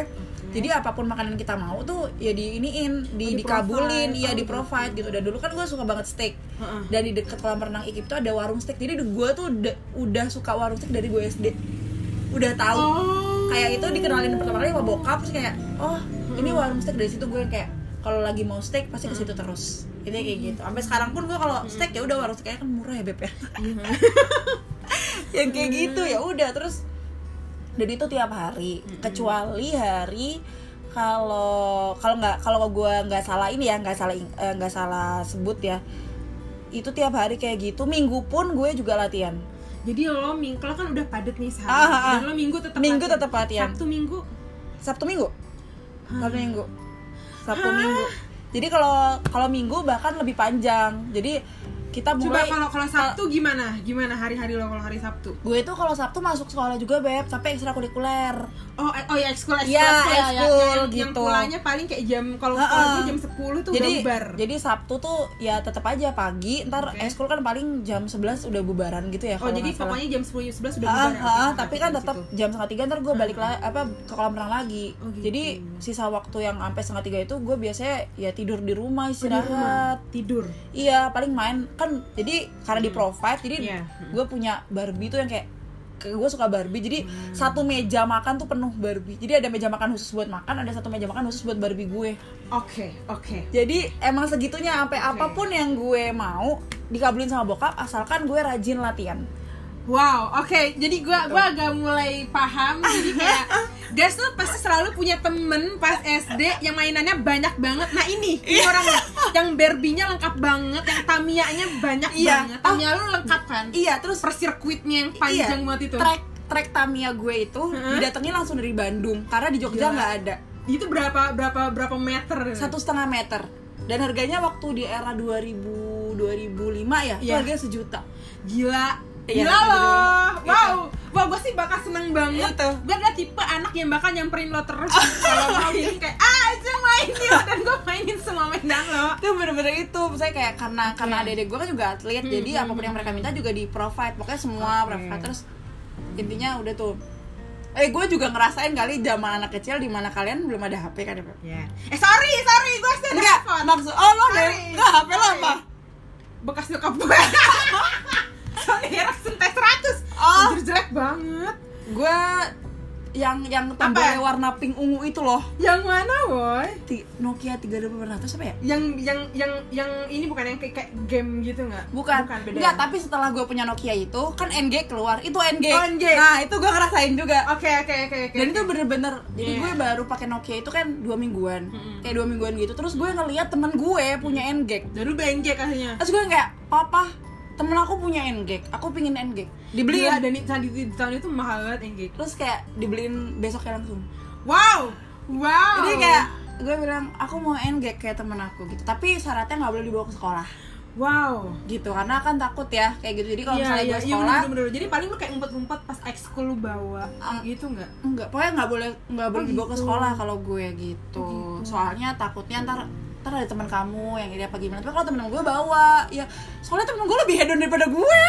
Speaker 1: jadi apapun makanan kita mau tuh ya di iniin di,
Speaker 2: Oh, di
Speaker 1: dikabulin
Speaker 2: provide.
Speaker 1: iya
Speaker 2: Oh,
Speaker 1: di provide gitu dan dulu kan gue suka banget steak
Speaker 2: Heeh.
Speaker 1: dan di deket kolam renang ikip tuh ada warung steak jadi gue tuh udah, udah suka warung steak dari gue SD udah tahu
Speaker 2: oh
Speaker 1: kayak itu dikenalin pertama kali sama bokap terus kayak oh ini warung steak dari situ gue kayak kalau lagi mau steak pasti ke situ terus itu kayak gitu sampai sekarang pun gue kalau steak ya udah warung steaknya kan murah ya beb ya
Speaker 2: eh,
Speaker 1: yang kayak gitu ya udah terus dan itu tiap hari kecuali hari kalau kalau nggak kalau gue nggak salah ini ya nggak salah ing- eh, nggak salah sebut ya itu tiap hari kayak gitu minggu pun gue juga latihan
Speaker 2: Jadi lo minggu lo kan udah padet nih sehari.
Speaker 1: Ah, ah, ah.
Speaker 2: Dan lo minggu tetap
Speaker 1: Minggu tetap latihan.
Speaker 2: Sabtu minggu.
Speaker 1: Sabtu Minggu.
Speaker 2: Hmm.
Speaker 1: Sabtu Minggu. Sabtu Minggu. Jadi kalau kalau Minggu bahkan lebih panjang. Jadi kita
Speaker 2: Coba
Speaker 1: mulai
Speaker 2: kalau kalau Sabtu gimana? Gimana hari-hari lo kalau hari Sabtu?
Speaker 1: gue itu kalau Sabtu masuk sekolah juga beb tapi ekstrakurikuler
Speaker 2: Oh, eh, oh ya ekskul ekskul
Speaker 1: Iya,
Speaker 2: ekskul, ya, ya.
Speaker 1: ekskul,
Speaker 2: Yang- Yang
Speaker 1: gitu.
Speaker 2: pulangnya paling kayak jam kalau sekolah
Speaker 1: Ha-ha.
Speaker 2: gue jam 10 tuh udah
Speaker 1: jadi
Speaker 2: bubar.
Speaker 1: jadi Sabtu tuh ya tetap aja pagi ntar
Speaker 2: Oke.
Speaker 1: ekskul kan paling jam 11 udah bubaran gitu ya
Speaker 2: Oh,
Speaker 1: kalau
Speaker 2: jadi
Speaker 1: nggak salah.
Speaker 2: pokoknya jam 10 jam 11 udah
Speaker 1: Ah,
Speaker 2: bubar. ya?
Speaker 1: ah,
Speaker 2: Oke,
Speaker 1: tapi
Speaker 2: oke,
Speaker 1: kan
Speaker 2: di
Speaker 1: tetap
Speaker 2: situ.
Speaker 1: jam setengah tiga ntar gue balik la- apa ke kolam renang lagi
Speaker 2: Oh, gitu.
Speaker 1: jadi sisa waktu yang sampai setengah tiga itu gue biasanya ya tidur di rumah
Speaker 2: Oh, di rumah.
Speaker 1: istirahat
Speaker 2: tidur.
Speaker 1: iya paling main kan jadi karena di provide jadi
Speaker 2: Iya.
Speaker 1: gue punya Barbie tuh yang kayak gue suka Barbie jadi
Speaker 2: Hmm.
Speaker 1: satu meja makan tuh penuh Barbie jadi ada meja makan khusus buat makan ada satu meja makan khusus buat Barbie gue
Speaker 2: Oke, oke.
Speaker 1: jadi emang segitunya sampai apapun yang gue mau dikabulin sama bokap asalkan gue rajin latihan
Speaker 2: Wow, oke. Jadi gua gua agak mulai paham. Jadi kayak guys tuh pasti selalu punya temen pas SD yang mainannya banyak banget. Nah ini,
Speaker 1: Iya.
Speaker 2: ini orangnya yang Barbie-nya lengkap banget, yang Tamiya-nya banyak
Speaker 1: Iya.
Speaker 2: banget. Tamiya lu lengkap kan?
Speaker 1: iya terus
Speaker 2: Persirkuitnya yang panjang
Speaker 1: Iya,
Speaker 2: banget itu.
Speaker 1: Trek trek Tamiya gue itu
Speaker 2: Heeh.
Speaker 1: didatengin langsung dari Bandung karena di Jogja
Speaker 2: Gila. Hmm.
Speaker 1: nggak ada
Speaker 2: Itu berapa berapa berapa meter?
Speaker 1: satu setengah meter dan harganya waktu di era 2000 2005 ya itu
Speaker 2: Iya.
Speaker 1: harganya sejuta
Speaker 2: Gila.
Speaker 1: Iya,
Speaker 2: Gila
Speaker 1: gitu
Speaker 2: loh.
Speaker 1: doang.
Speaker 2: Wow. Wah, gue sih bakal seneng banget.
Speaker 1: Gitu.
Speaker 2: Gue adalah tipe anak yang bakal nyamperin lo terus kalau mau gitu kayak ah aja main yuk." dan gue mainin semua mainan lo.
Speaker 1: itu bener-bener itu saya kayak karena karena adek gue kan juga atlet
Speaker 2: Iya. Hmm,
Speaker 1: jadi
Speaker 2: hmm,
Speaker 1: apapun yang mereka minta juga di provide pokoknya semua
Speaker 2: Oke.
Speaker 1: provide terus intinya udah tuh eh gue juga ngerasain kali zaman anak kecil di mana kalian belum ada HP kan ya Beb?
Speaker 2: Ya. Eh sorry, sorry, gue sih ada
Speaker 1: enggak
Speaker 2: handphone.
Speaker 1: maksud oh lo deh
Speaker 2: Sorry.
Speaker 1: enggak HP lo
Speaker 2: Sorry.
Speaker 1: apa
Speaker 2: Bekas nyokap gue. Sony Ericsson T100.
Speaker 1: Oh.
Speaker 2: Anjir, jelek banget.
Speaker 1: gue yang yang tombolnya warna pink ungu itu loh
Speaker 2: Yang mana, boy?
Speaker 1: Ti- Nokia 3200 apa ya?
Speaker 2: Yang yang yang yang ini bukan yang kayak, kayak game gitu nggak?
Speaker 1: Bukan,
Speaker 2: bukan beda. ya?
Speaker 1: enggak, tapi setelah gue punya Nokia itu kan NG keluar, itu NG.
Speaker 2: Oh, NG.
Speaker 1: Nah, itu gue ngerasain juga.
Speaker 2: Oke, oke, oke, oke.
Speaker 1: Dan itu bener-bener, jadi
Speaker 2: Iya.
Speaker 1: gue baru pakai Nokia itu kan dua mingguan,
Speaker 2: Mm-mm.
Speaker 1: kayak dua mingguan gitu. Terus gue ngeliat temen gue punya NG.
Speaker 2: Dan lu BNJ kasihnya.
Speaker 1: Terus gue kayak, papa, temen aku punya NG, aku pingin NG.
Speaker 2: Gila,
Speaker 1: Dibeliin.
Speaker 2: Iya, dan di, di, di tahun itu mahal banget engage.
Speaker 1: Terus kayak dibeliin besoknya langsung.
Speaker 2: Wow, wow.
Speaker 1: Jadi kayak gue bilang aku mau NG kayak temen aku gitu. Tapi syaratnya nggak boleh dibawa ke sekolah.
Speaker 2: wow.
Speaker 1: gitu karena kan takut ya kayak gitu jadi kalau misalnya gue
Speaker 2: iya,
Speaker 1: sekolah
Speaker 2: bener, bener, bener. Jadi paling lu kayak ngumpet-ngumpet pas ekskul lu bawa
Speaker 1: Ah.
Speaker 2: gitu nggak?
Speaker 1: enggak pokoknya nggak boleh nggak boleh dibawa ke
Speaker 2: gitu.
Speaker 1: sekolah kalau gue gitu.
Speaker 2: Oh, gitu.
Speaker 1: soalnya takutnya ntar ntar ada teman kamu yang ini apa gimana tapi kalau temen gue bawa ya soalnya temen gue lebih hedon daripada gue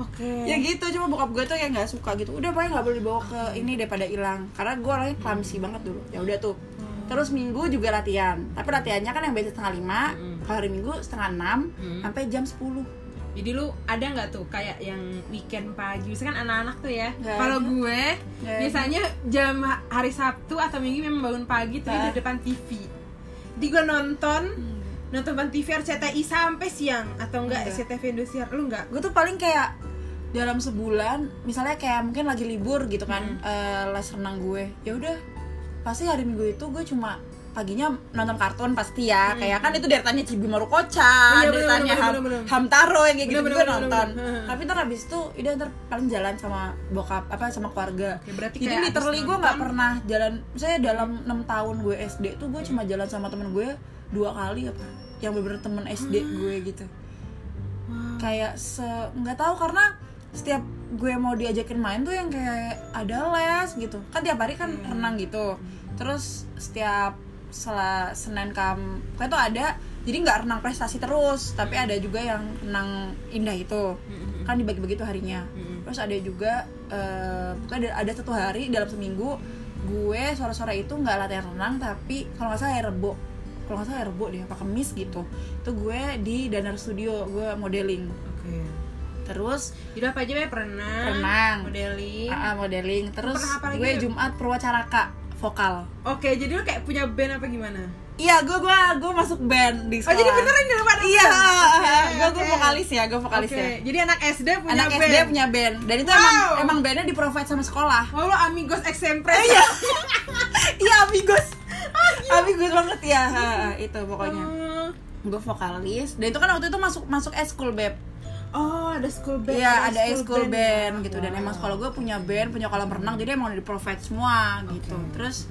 Speaker 2: Oke.
Speaker 1: ya gitu cuma bokap gue tuh kayak nggak suka gitu udah pokoknya nggak boleh dibawa ke
Speaker 2: Hmm.
Speaker 1: ini daripada hilang karena gue orangnya clumsy banget dulu ya udah tuh
Speaker 2: Hmm.
Speaker 1: terus minggu juga latihan tapi latihannya kan yang biasa setengah lima
Speaker 2: Mm-mm.
Speaker 1: kalau hari minggu setengah enam
Speaker 2: Mm.
Speaker 1: sampai jam sepuluh
Speaker 2: Jadi lu ada nggak tuh kayak yang weekend pagi? Biasanya kan anak-anak tuh ya.
Speaker 1: Nggak
Speaker 2: Kalau
Speaker 1: ada.
Speaker 2: gue
Speaker 1: Nggak
Speaker 2: biasanya jam hari Sabtu atau Minggu memang bangun pagi tuh
Speaker 1: Ah.
Speaker 2: di depan TV. Jadi gue nonton nonton depan TV RCTI sampai siang atau enggak
Speaker 1: Hmm. Nggak.
Speaker 2: SCTV Indosiar lu enggak?
Speaker 1: gue tuh paling kayak dalam sebulan misalnya kayak mungkin lagi libur gitu
Speaker 2: Hmm.
Speaker 1: kan eh, les renang gue ya udah pasti hari minggu itu gue cuma paginya nonton kartun pasti ya kayak kan itu deretannya Cibimaru Koca
Speaker 2: Hmm. Iya, bener,
Speaker 1: deretannya
Speaker 2: bener,
Speaker 1: Ham,
Speaker 2: bener, bener.
Speaker 1: Hamtaro yang kayak
Speaker 2: Bener,
Speaker 1: gitu
Speaker 2: bener,
Speaker 1: gue
Speaker 2: bener,
Speaker 1: nonton
Speaker 2: bener, bener.
Speaker 1: tapi ntar habis itu udah ntar paling jalan sama bokap apa sama keluarga
Speaker 2: Oke, berarti
Speaker 1: jadi
Speaker 2: kayak
Speaker 1: literally
Speaker 2: abis
Speaker 1: gue nggak
Speaker 2: nonton-
Speaker 1: pernah jalan saya dalam enam tahun gue SD tuh gue cuma jalan sama temen gue dua kali apa yang bener-bener temen SD
Speaker 2: Hmm.
Speaker 1: gue gitu kayak se nggak tahu karena setiap gue mau diajakin main tuh yang kayak ada les gitu kan tiap hari kan renang gitu terus setiap setelah senin kam kayak tuh ada jadi nggak renang prestasi terus tapi ada juga yang renang indah itu kan dibagi-bagi tuh harinya
Speaker 2: Mm-mm.
Speaker 1: terus ada juga eh pokoknya ada, ada satu hari dalam seminggu gue sore-sore itu nggak latihan renang tapi kalau nggak salah hari rebo kalau nggak salah hari rebo deh apa kemis gitu itu gue di danar studio gue modeling
Speaker 2: Oke.
Speaker 1: terus
Speaker 2: Jadi apa aja ya pernah?
Speaker 1: Renang.
Speaker 2: Modeling.
Speaker 1: AA modeling terus
Speaker 2: Iya. Pernah apa lagi, ya?
Speaker 1: gue
Speaker 2: Beb?
Speaker 1: jumat perwacaraka vokal
Speaker 2: Oke, jadi lu kayak punya band apa gimana?
Speaker 1: iya gue gue gue masuk band di
Speaker 2: Oh,
Speaker 1: sekolah
Speaker 2: jadi beneran di depan
Speaker 1: iya gue gue
Speaker 2: oke.
Speaker 1: vokalis ya gue vokalis
Speaker 2: Oke,
Speaker 1: ya
Speaker 2: Jadi anak SD punya
Speaker 1: anak
Speaker 2: band.
Speaker 1: SD punya band dan itu
Speaker 2: Wow.
Speaker 1: emang emang bandnya di provide sama sekolah
Speaker 2: Wah, lo Oh, amigos eksempre.
Speaker 1: iya iya amigos
Speaker 2: Ah,
Speaker 1: amigos banget ya Ha, ha,
Speaker 2: Hmm.
Speaker 1: itu pokoknya gue vokalis dan itu kan waktu itu masuk masuk eskul beb
Speaker 2: Oh, ada school band.
Speaker 1: iya ada eskul band, gitu dan
Speaker 2: Wow.
Speaker 1: emang sekolah gue punya band punya kolam renang jadi emang di provide semua gitu
Speaker 2: Oke.
Speaker 1: terus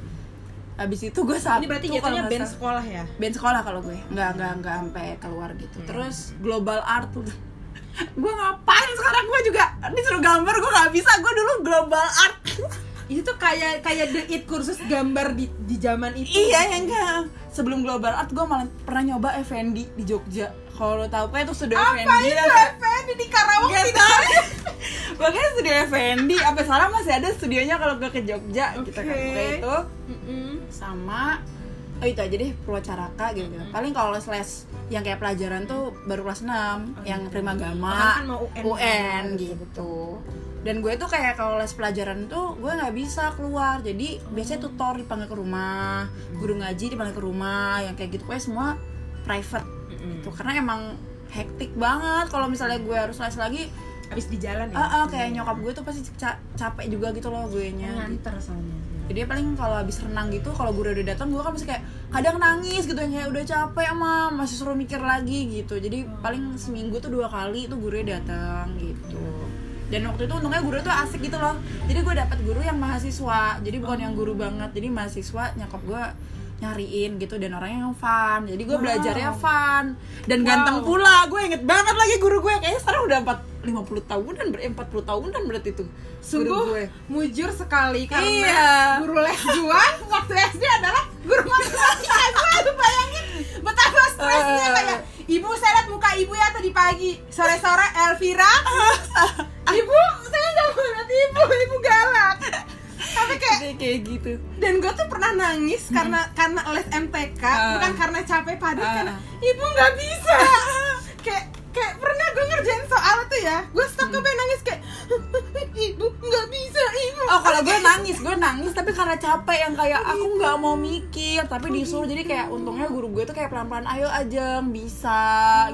Speaker 1: habis itu gue sabtu
Speaker 2: Ini berarti
Speaker 1: kalau
Speaker 2: jatuhnya
Speaker 1: nggak
Speaker 2: band
Speaker 1: salah-
Speaker 2: sekolah ya? Hmm.
Speaker 1: band sekolah kalau gue nggak nggak nggak sampai keluar gitu terus global art gue ngapain sekarang gue juga disuruh gambar gue nggak bisa gue dulu global art
Speaker 2: itu tuh kayak kayak the it kursus gambar di di zaman itu
Speaker 1: iya yang enggak sebelum global art gue malah pernah nyoba Effendi di Jogja kalau lo tahu kayak itu sudah
Speaker 2: apa
Speaker 1: Effendi
Speaker 2: itu gitu
Speaker 1: lah.
Speaker 2: Effendi di Karawang
Speaker 1: Gak
Speaker 2: tidak
Speaker 1: tahu. Makanya studio Effendi, sampai sekarang masih ada studionya kalau gue ke Jogja gitu kan.
Speaker 2: Oke.
Speaker 1: Makanya itu
Speaker 2: Mm-mm.
Speaker 1: sama Oh itu aja deh, Purwacaraka gitu,
Speaker 2: Hmm.
Speaker 1: gitu. Paling kalau les yang kayak pelajaran tuh baru kelas 6 Yang prima
Speaker 2: Oh, iya. Karena
Speaker 1: gama,
Speaker 2: kan mau UN.
Speaker 1: gitu Dan gue tuh kayak kalau les pelajaran tuh gue nggak bisa keluar Jadi
Speaker 2: Oh.
Speaker 1: biasanya tutor dipanggil ke rumah Guru ngaji dipanggil ke rumah Yang kayak gitu, pokoknya semua private gitu Karena emang hektik banget kalau misalnya gue harus les lagi
Speaker 2: habis di jalan ya
Speaker 1: Ah, ah, kayak nyokap gue tuh pasti ca- capek juga gitu loh gue nya.
Speaker 2: nganter soalnya
Speaker 1: Jadi paling kalau habis renang gitu, kalau gue udah datang gue kan masih kayak kadang nangis gitu yang kayak udah capek mah masih suruh mikir lagi gitu. Jadi paling seminggu tuh dua kali tuh gurunya datang gitu. Dan waktu itu untungnya guru tuh asik gitu loh. Jadi gue dapet guru yang mahasiswa. Jadi bukan yang guru banget. Jadi mahasiswa nyokap gue nyariin gitu dan orangnya yang fun. Jadi gue belajarnya fun dan ganteng pula. Gue inget banget lagi guru gue kayaknya sekarang udah 4 50 tahunan, ber 40 tahunan berarti itu. guru gue.
Speaker 2: sungguh mujur sekali karena
Speaker 1: Iya.
Speaker 2: guru les gua waktu SD adalah guru matematika gua lu bayangin betapa stresnya
Speaker 1: Eh.
Speaker 2: kayak ibu saya lihat muka ibu ya tadi pagi sore-sore Elvira ibu saya nggak mau lihat ibu ibu galak tapi kayak
Speaker 1: Jadi kayak gitu.
Speaker 2: dan gue tuh pernah nangis karena karena les MTK
Speaker 1: Hmm. Ah.
Speaker 2: bukan karena capek padat
Speaker 1: Ah.
Speaker 2: karena ibu nggak bisa kayak kayak pernah gue ngerjain soal tuh ya gue
Speaker 1: Hmm.
Speaker 2: stuck gue pengen nangis kayak ibu nggak bisa ibu
Speaker 1: Oh kalau gue nangis, gue nangis tapi karena capek yang kayak aku nggak mau mikir tapi disuruh jadi kayak untungnya guru gue tuh kayak pelan-pelan ayo aja bisa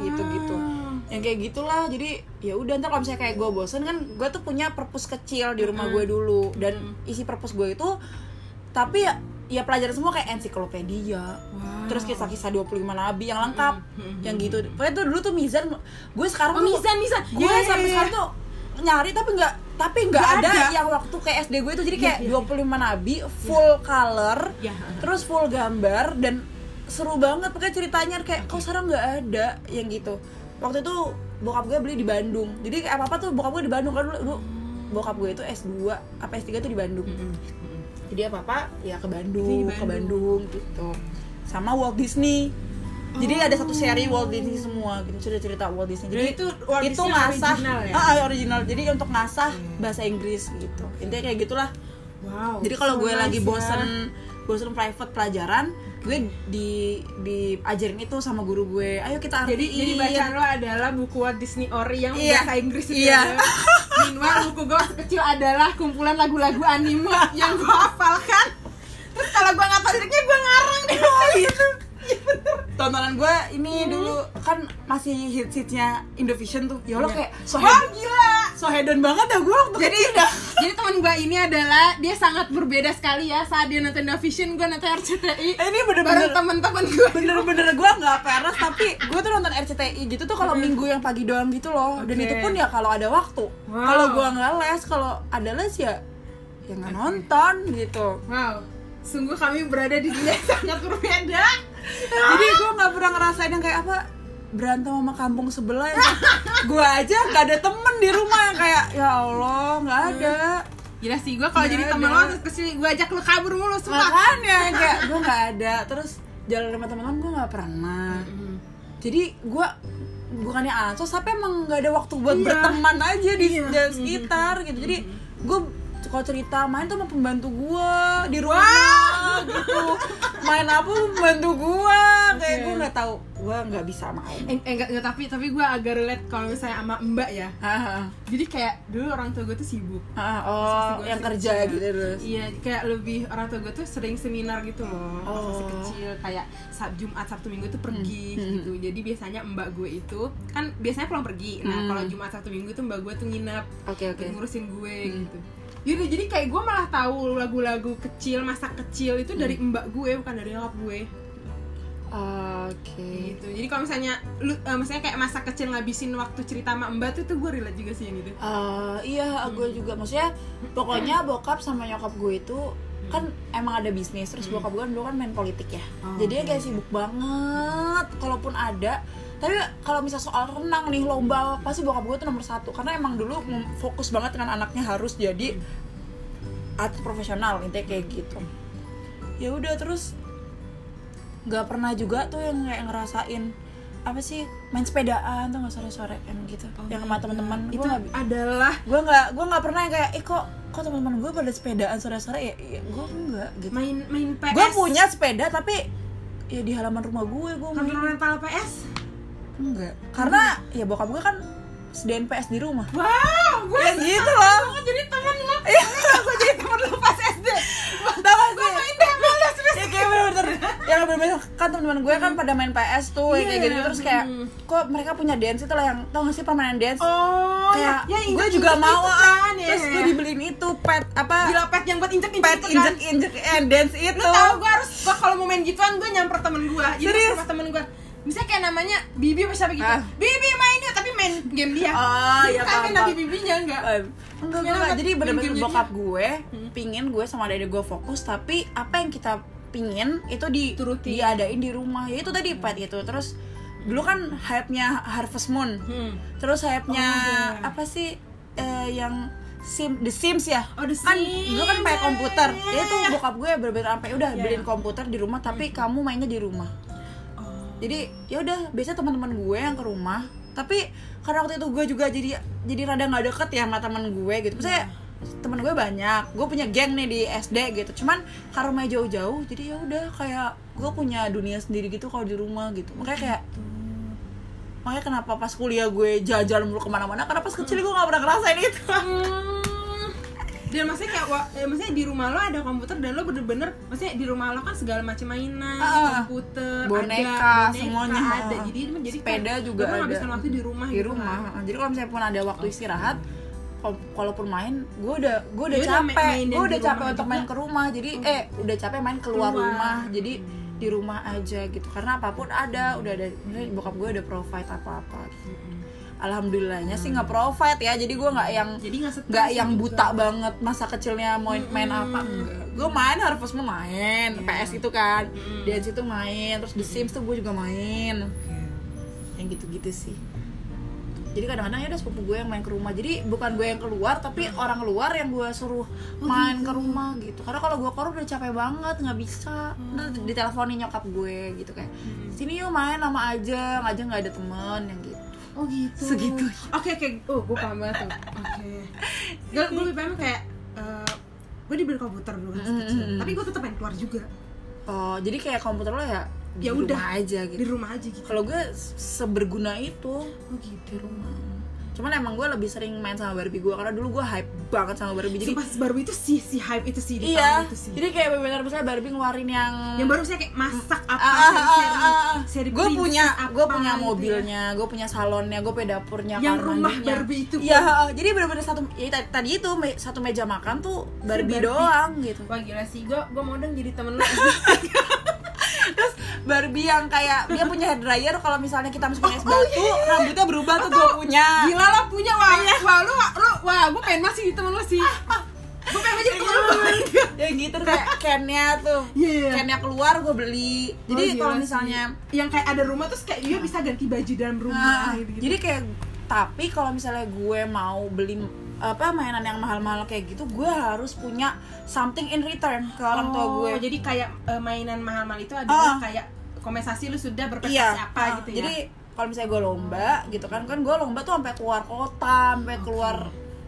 Speaker 1: gitu-gitu
Speaker 2: Ah.
Speaker 1: yang kayak gitulah jadi ya udah ntar kalau misalnya kayak gue bosen kan gue tuh punya perpus kecil di rumah gue dulu dan isi perpus gue itu tapi ya ya pelajaran semua kayak ensiklopedia terus kisah-kisah 25 nabi yang lengkap yang gitu pokoknya tuh dulu tuh mizan gue sekarang
Speaker 2: oh,
Speaker 1: tuh-
Speaker 2: misan misan
Speaker 1: gue sampai sekarang tuh nyari tapi nggak tapi nggak
Speaker 2: iya, Nggak
Speaker 1: ada,
Speaker 2: ada.
Speaker 1: yang waktu kayak SD gue itu jadi kayak
Speaker 2: Iya,
Speaker 1: 25 nabi full color
Speaker 2: Iya.
Speaker 1: terus full gambar dan seru banget pokoknya ceritanya kayak kok sekarang nggak ada yang gitu waktu itu bokap gue beli di Bandung jadi kayak apa apa tuh bokap gue di Bandung kan dulu, dulu bokap gue itu S2 apa S3 tuh di Bandung hmm. jadi apa apa ya ke Bandung,
Speaker 2: Jadi di
Speaker 1: ke Bandung gitu sama Walt Disney jadi ada satu seri Walt Disney semua gitu cerita cerita Walt Disney jadi
Speaker 2: Oh. Jadi itu Walt
Speaker 1: itu
Speaker 2: Disney
Speaker 1: ngasah
Speaker 2: original ya? Iya.
Speaker 1: Ah, ah, original jadi untuk ngasah bahasa Inggris gitu intinya kayak gitulah
Speaker 2: wow
Speaker 1: jadi kalau gue
Speaker 2: so
Speaker 1: lagi
Speaker 2: nice Oh, ya.
Speaker 1: bosen bosen private pelajaran gue di diajarin itu sama guru gue ayo kita
Speaker 2: jadi
Speaker 1: artiin
Speaker 2: jadi bacaan lo adalah buku Walt Disney Ori yang
Speaker 1: Iya.
Speaker 2: bahasa Inggris itu
Speaker 1: Iya.
Speaker 2: ya. Minimal buku gue waktu kecil adalah kumpulan lagu-lagu anime yang gue hafalkan. Terus kalau gue nggak tahu liriknya gue ngarang deh.
Speaker 1: gitu tontonan gue ini dulu kan masih hits hitsnya Indovision tuh ya Allah kayak so,
Speaker 2: Iya. Wah
Speaker 1: hed-
Speaker 2: gila.
Speaker 1: so hedon banget dah gue waktu
Speaker 2: Jadi
Speaker 1: kecil dah.
Speaker 2: jadi teman gue ini adalah dia sangat berbeda sekali ya saat dia nonton Vision gue nonton RCTI.
Speaker 1: ini
Speaker 2: Bareng
Speaker 1: bener-bener
Speaker 2: teman-teman gue.
Speaker 1: bener-bener gue nggak peres tapi gue tuh nonton RCTI gitu tuh kalau minggu yang pagi doang gitu loh dan
Speaker 2: Oke.
Speaker 1: itu pun ya kalau ada waktu
Speaker 2: Wow.
Speaker 1: kalau gue nggak les kalau ada les ya ya nggak nonton gitu
Speaker 2: Wow. Sungguh kami berada di dunia yang sangat berbeda.
Speaker 1: jadi gue nggak pernah ngerasain yang kayak apa berantem sama kampung sebelah ya. gue aja nggak ada temen di rumah yang kayak ya Allah nggak
Speaker 2: Iya.
Speaker 1: ada
Speaker 2: Gila sih gue kalau
Speaker 1: Iya,
Speaker 2: jadi temen
Speaker 1: iya.
Speaker 2: lo terus kesini gue ajak lo kabur mulu semua.
Speaker 1: makanya yang kayak gue nggak ada terus jalan sama teman-teman gue nggak pernah
Speaker 2: Mm-hmm.
Speaker 1: jadi gue bukannya ansos tapi emang nggak ada waktu buat
Speaker 2: Iya.
Speaker 1: berteman aja di di sekitar gitu jadi gue kalau cerita main tuh sama pembantu gue di rumah gitu main apa sama pembantu gue kayak
Speaker 2: Oke.
Speaker 1: gue nggak tahu gue nggak bisa main
Speaker 2: Eh, eh, enggak, enggak, tapi tapi gue agak relate kalau misalnya sama mbak ya
Speaker 1: Ah,
Speaker 2: jadi kayak dulu orang tua gue tuh sibuk
Speaker 1: ah, ah,
Speaker 2: Masih
Speaker 1: oh
Speaker 2: gua
Speaker 1: yang
Speaker 2: sih
Speaker 1: kerja
Speaker 2: kecil.
Speaker 1: gitu terus
Speaker 2: iya kayak lebih orang tua gue tuh sering seminar gitu loh waktu masih
Speaker 1: Oh. Hmm,
Speaker 2: kecil kayak Sab- Jumat Sabtu Minggu tuh pergi gitu jadi biasanya mbak gue itu kan biasanya pulang pergi nah
Speaker 1: Hmm.
Speaker 2: kalau Jumat Sabtu Minggu tuh mbak gue tuh nginep
Speaker 1: oke Hmm. oke
Speaker 2: buat ngurusin gue gitu Yaudah, jadi kayak gue malah tahu lagu-lagu kecil, masa kecil itu dari
Speaker 1: Hmm.
Speaker 2: mbak gue, bukan dari nyokap gue
Speaker 1: oke
Speaker 2: gitu jadi kalau misalnya lu eh, misalnya kayak masa kecil ngabisin waktu cerita sama mbak tuh tuh gue relate juga sih yang gitu. itu
Speaker 1: Eh, iya, gue juga. Maksudnya, pokoknya bokap sama nyokap gue itu kan emang ada bisnis terus
Speaker 2: Hmm.
Speaker 1: bokap gue kan dulu kan main politik ya
Speaker 2: Oh.
Speaker 1: jadi kayak sibuk banget kalaupun ada tapi kalau misal soal renang nih lomba pasti bokap gue tuh nomor satu karena emang dulu
Speaker 2: Hmm.
Speaker 1: mem- fokus banget dengan anaknya harus jadi atlet profesional intinya kayak gitu ya udah terus nggak pernah juga tuh yang kayak ngerasain apa sih main sepedaan tuh nggak sore-sore gitu
Speaker 2: Oh
Speaker 1: yang sama teman-teman
Speaker 2: itu
Speaker 1: Gua nggak-
Speaker 2: adalah
Speaker 1: gue nggak gue nggak pernah yang kayak eh kok kok teman-teman gue pada sepedaan sore-sore ya, ya gue enggak gitu
Speaker 2: main main PS
Speaker 1: gue punya sepeda tapi ya di halaman rumah gue gue
Speaker 2: kontrol
Speaker 1: main
Speaker 2: mental PS
Speaker 1: enggak karena ya bokap gue kan sediain PS di rumah
Speaker 2: wow gue
Speaker 1: ya gitu loh
Speaker 2: jadi teman lo
Speaker 1: Iya.
Speaker 2: gue jadi teman lo pas SD
Speaker 1: tau gak
Speaker 2: gue
Speaker 1: sih?
Speaker 2: main deh malas terus
Speaker 1: ya kayak bener-bener yang bener-bener kan teman-teman gue kan pada main PS tuh ya, kayak
Speaker 2: Hmm. Iya,
Speaker 1: gitu terus kayak
Speaker 2: hmm.
Speaker 1: kok mereka punya dance itu lah yang tau gak sih permainan dance
Speaker 2: oh
Speaker 1: kayak
Speaker 2: ya, ya,
Speaker 1: gue
Speaker 2: injek-
Speaker 1: juga
Speaker 2: injek
Speaker 1: mau
Speaker 2: gitu
Speaker 1: ah
Speaker 2: kan, ya.
Speaker 1: terus gue dibeliin itu pet apa
Speaker 2: gila pet yang buat injek injek
Speaker 1: pet injek injek and dance itu
Speaker 2: kan. lu tau gue harus gue kalau mau main gituan gue nyamper temen gue jadi
Speaker 1: Serius?
Speaker 2: sama temen gue misalnya kayak namanya Bibi apa siapa gitu
Speaker 1: Ah.
Speaker 2: Bibi main yuk tapi main game dia
Speaker 1: Oh,
Speaker 2: Dia
Speaker 1: iya,
Speaker 2: bukan
Speaker 1: paham,
Speaker 2: main
Speaker 1: paham.
Speaker 2: Nabi Bibinya enggak
Speaker 1: Eh, enggak gue
Speaker 2: Gimana Hmm.
Speaker 1: enggak.
Speaker 2: buat
Speaker 1: jadi bener-bener
Speaker 2: game-gamenya?
Speaker 1: bokap gue pingin gue sama dede gue fokus tapi apa yang kita pingin itu di
Speaker 2: Turuti.
Speaker 1: diadain di rumah ya itu tadi pet itu terus dulu kan hype-nya Harvest Moon
Speaker 2: Hmm.
Speaker 1: terus hype-nya
Speaker 2: Oh, iya.
Speaker 1: apa sih eh, yang Sim, The Sims ya
Speaker 2: Oh, The
Speaker 1: kan
Speaker 2: Sims.
Speaker 1: dulu kan pakai komputer ya itu bokap gue bener-bener sampai udah
Speaker 2: Iya,
Speaker 1: beliin
Speaker 2: iya. Hmm.
Speaker 1: komputer di rumah tapi kamu mainnya di rumah
Speaker 2: Oh.
Speaker 1: jadi ya udah biasanya teman-teman gue yang ke rumah tapi karena waktu itu gue juga jadi jadi rada nggak deket ya sama teman gue gitu maksudnya teman gue banyak gue punya geng nih di SD gitu cuman karena rumahnya jauh-jauh jadi ya udah kayak gue punya dunia sendiri gitu kalau di rumah gitu makanya kayak makanya kenapa pas kuliah gue jalan-jalan mulu kemana-mana karena pas kecil gue nggak pernah ngerasain itu
Speaker 2: Hmm. dan maksudnya kayak wa- eh, maksudnya di rumah lo ada komputer dan lo bener-bener maksudnya di rumah lo kan segala macam mainan
Speaker 1: Ah.
Speaker 2: komputer
Speaker 1: Boneka,
Speaker 2: ada, boneka,
Speaker 1: semuanya.
Speaker 2: ada jadi ini jadi
Speaker 1: Sepeda
Speaker 2: kayak
Speaker 1: juga
Speaker 2: lo
Speaker 1: ada.
Speaker 2: menghabiskan waktu di rumah
Speaker 1: di
Speaker 2: gitu kan.
Speaker 1: rumah jadi kalau misalnya pun ada waktu istirahat kalau- kalaupun main gue udah gue udah
Speaker 2: Ya udah, main-
Speaker 1: capek
Speaker 2: main
Speaker 1: gue
Speaker 2: di
Speaker 1: udah capek
Speaker 2: rumah
Speaker 1: untuk
Speaker 2: juga. Hmm.
Speaker 1: main ke rumah jadi eh udah capek main keluar,
Speaker 2: Keluar.
Speaker 1: rumah jadi di rumah aja gitu karena apapun
Speaker 2: Hmm.
Speaker 1: ada udah ada maksudnya bokap gue udah provide apa apa alhamdulillahnya sih
Speaker 2: Hmm.
Speaker 1: nggak provide ya jadi gue nggak yang
Speaker 2: jadi nggak stres
Speaker 1: nggak yang
Speaker 2: gitu.
Speaker 1: buta banget masa kecilnya mau
Speaker 2: Hmm.
Speaker 1: main apa gue main Harvest Moon main
Speaker 2: Iya.
Speaker 1: PS itu kan
Speaker 2: Hmm.
Speaker 1: dan situ main terus The Sims tuh gue juga main yang gitu-gitu sih jadi kadang-kadang ya ada sepupu gue yang main ke rumah jadi bukan gue yang keluar tapi orang luar yang gue suruh
Speaker 2: Oh
Speaker 1: main ke rumah gitu karena kalau gue keluar udah capek banget nggak bisa Ntar
Speaker 2: Hmm.
Speaker 1: diteleponin nyokap gue gitu kayak sini yuk main lama aja aja nggak ada temen yang gitu
Speaker 2: Oh gitu.
Speaker 1: Segitu.
Speaker 2: Oke oke. Oh gue paham banget tuh. Oke. Gue gue lebih paham kayak eh gue dibeli komputer dulu kan sekecil.
Speaker 1: Mm-mm.
Speaker 2: Tapi gue tetap main keluar juga
Speaker 1: oh jadi kayak komputer lo ya di
Speaker 2: Ya
Speaker 1: rumah
Speaker 2: udah.
Speaker 1: aja
Speaker 2: di
Speaker 1: gitu
Speaker 2: rumah aja gitu.
Speaker 1: kalau gue seberguna itu
Speaker 2: Oh
Speaker 1: di
Speaker 2: gitu.
Speaker 1: rumah cuman emang gue lebih sering main sama Barbie gue karena dulu gue hype banget sama Barbie
Speaker 2: Jadi
Speaker 1: jadi
Speaker 2: pas baru itu si si hype itu sih
Speaker 1: iya
Speaker 2: di tahun itu gitu sih.
Speaker 1: jadi kayak benar-benar misalnya Barbie ngeluarin yang
Speaker 2: Yang baru saya kayak masak apa
Speaker 1: Ah,
Speaker 2: seri
Speaker 1: ah,
Speaker 2: seri,
Speaker 1: ah, ah.
Speaker 2: seri
Speaker 1: gue
Speaker 2: perintis
Speaker 1: punya
Speaker 2: apa
Speaker 1: gue punya
Speaker 2: gitu ya.
Speaker 1: mobilnya gue punya salonnya gue punya dapurnya
Speaker 2: Yang
Speaker 1: kamar
Speaker 2: rumah
Speaker 1: mandinya.
Speaker 2: Barbie itu.
Speaker 1: iya heeh. jadi benar-benar satu ya, tadi- tadi itu me- satu meja makan tuh Barbie,
Speaker 2: Barbie.
Speaker 1: doang gitu
Speaker 2: Wah gila sih, gue gue mau dong jadi temen lo.
Speaker 1: Ah. terus Barbie yang kayak dia punya hair dryer kalau misalnya kita masukin es
Speaker 2: oh,
Speaker 1: batu rambutnya berubah tuh gue punya
Speaker 2: gila lo punya wah,
Speaker 1: Iya.
Speaker 2: wah lu lu wah gue pengen masih jadi temen lo sih.
Speaker 1: Ah,
Speaker 2: gue pengen jadi
Speaker 1: Iya,
Speaker 2: temen lo.
Speaker 1: yang gitu kayak cannya tuh
Speaker 2: Iya, iya.
Speaker 1: cannya keluar gue beli jadi
Speaker 2: Oh, gila
Speaker 1: kalau
Speaker 2: sih.
Speaker 1: misalnya
Speaker 2: yang kayak ada rumah terus kayak dia bisa ganti baju dalam rumah
Speaker 1: Nah,
Speaker 2: gitu, gitu.
Speaker 1: jadi kayak tapi kalau misalnya gue mau beli apa mainan yang mahal-mahal kayak gitu gue harus punya something in return ke orang tua
Speaker 2: Oh,
Speaker 1: gue
Speaker 2: jadi kayak eh, mainan mahal-mahal itu adalah
Speaker 1: Ah.
Speaker 2: kayak kompensasi lu sudah berprestasi apa
Speaker 1: ah,
Speaker 2: gitu ya.
Speaker 1: jadi kalau misalnya gue lomba gitu kan kan gue lomba tuh sampai keluar kota sampai keluar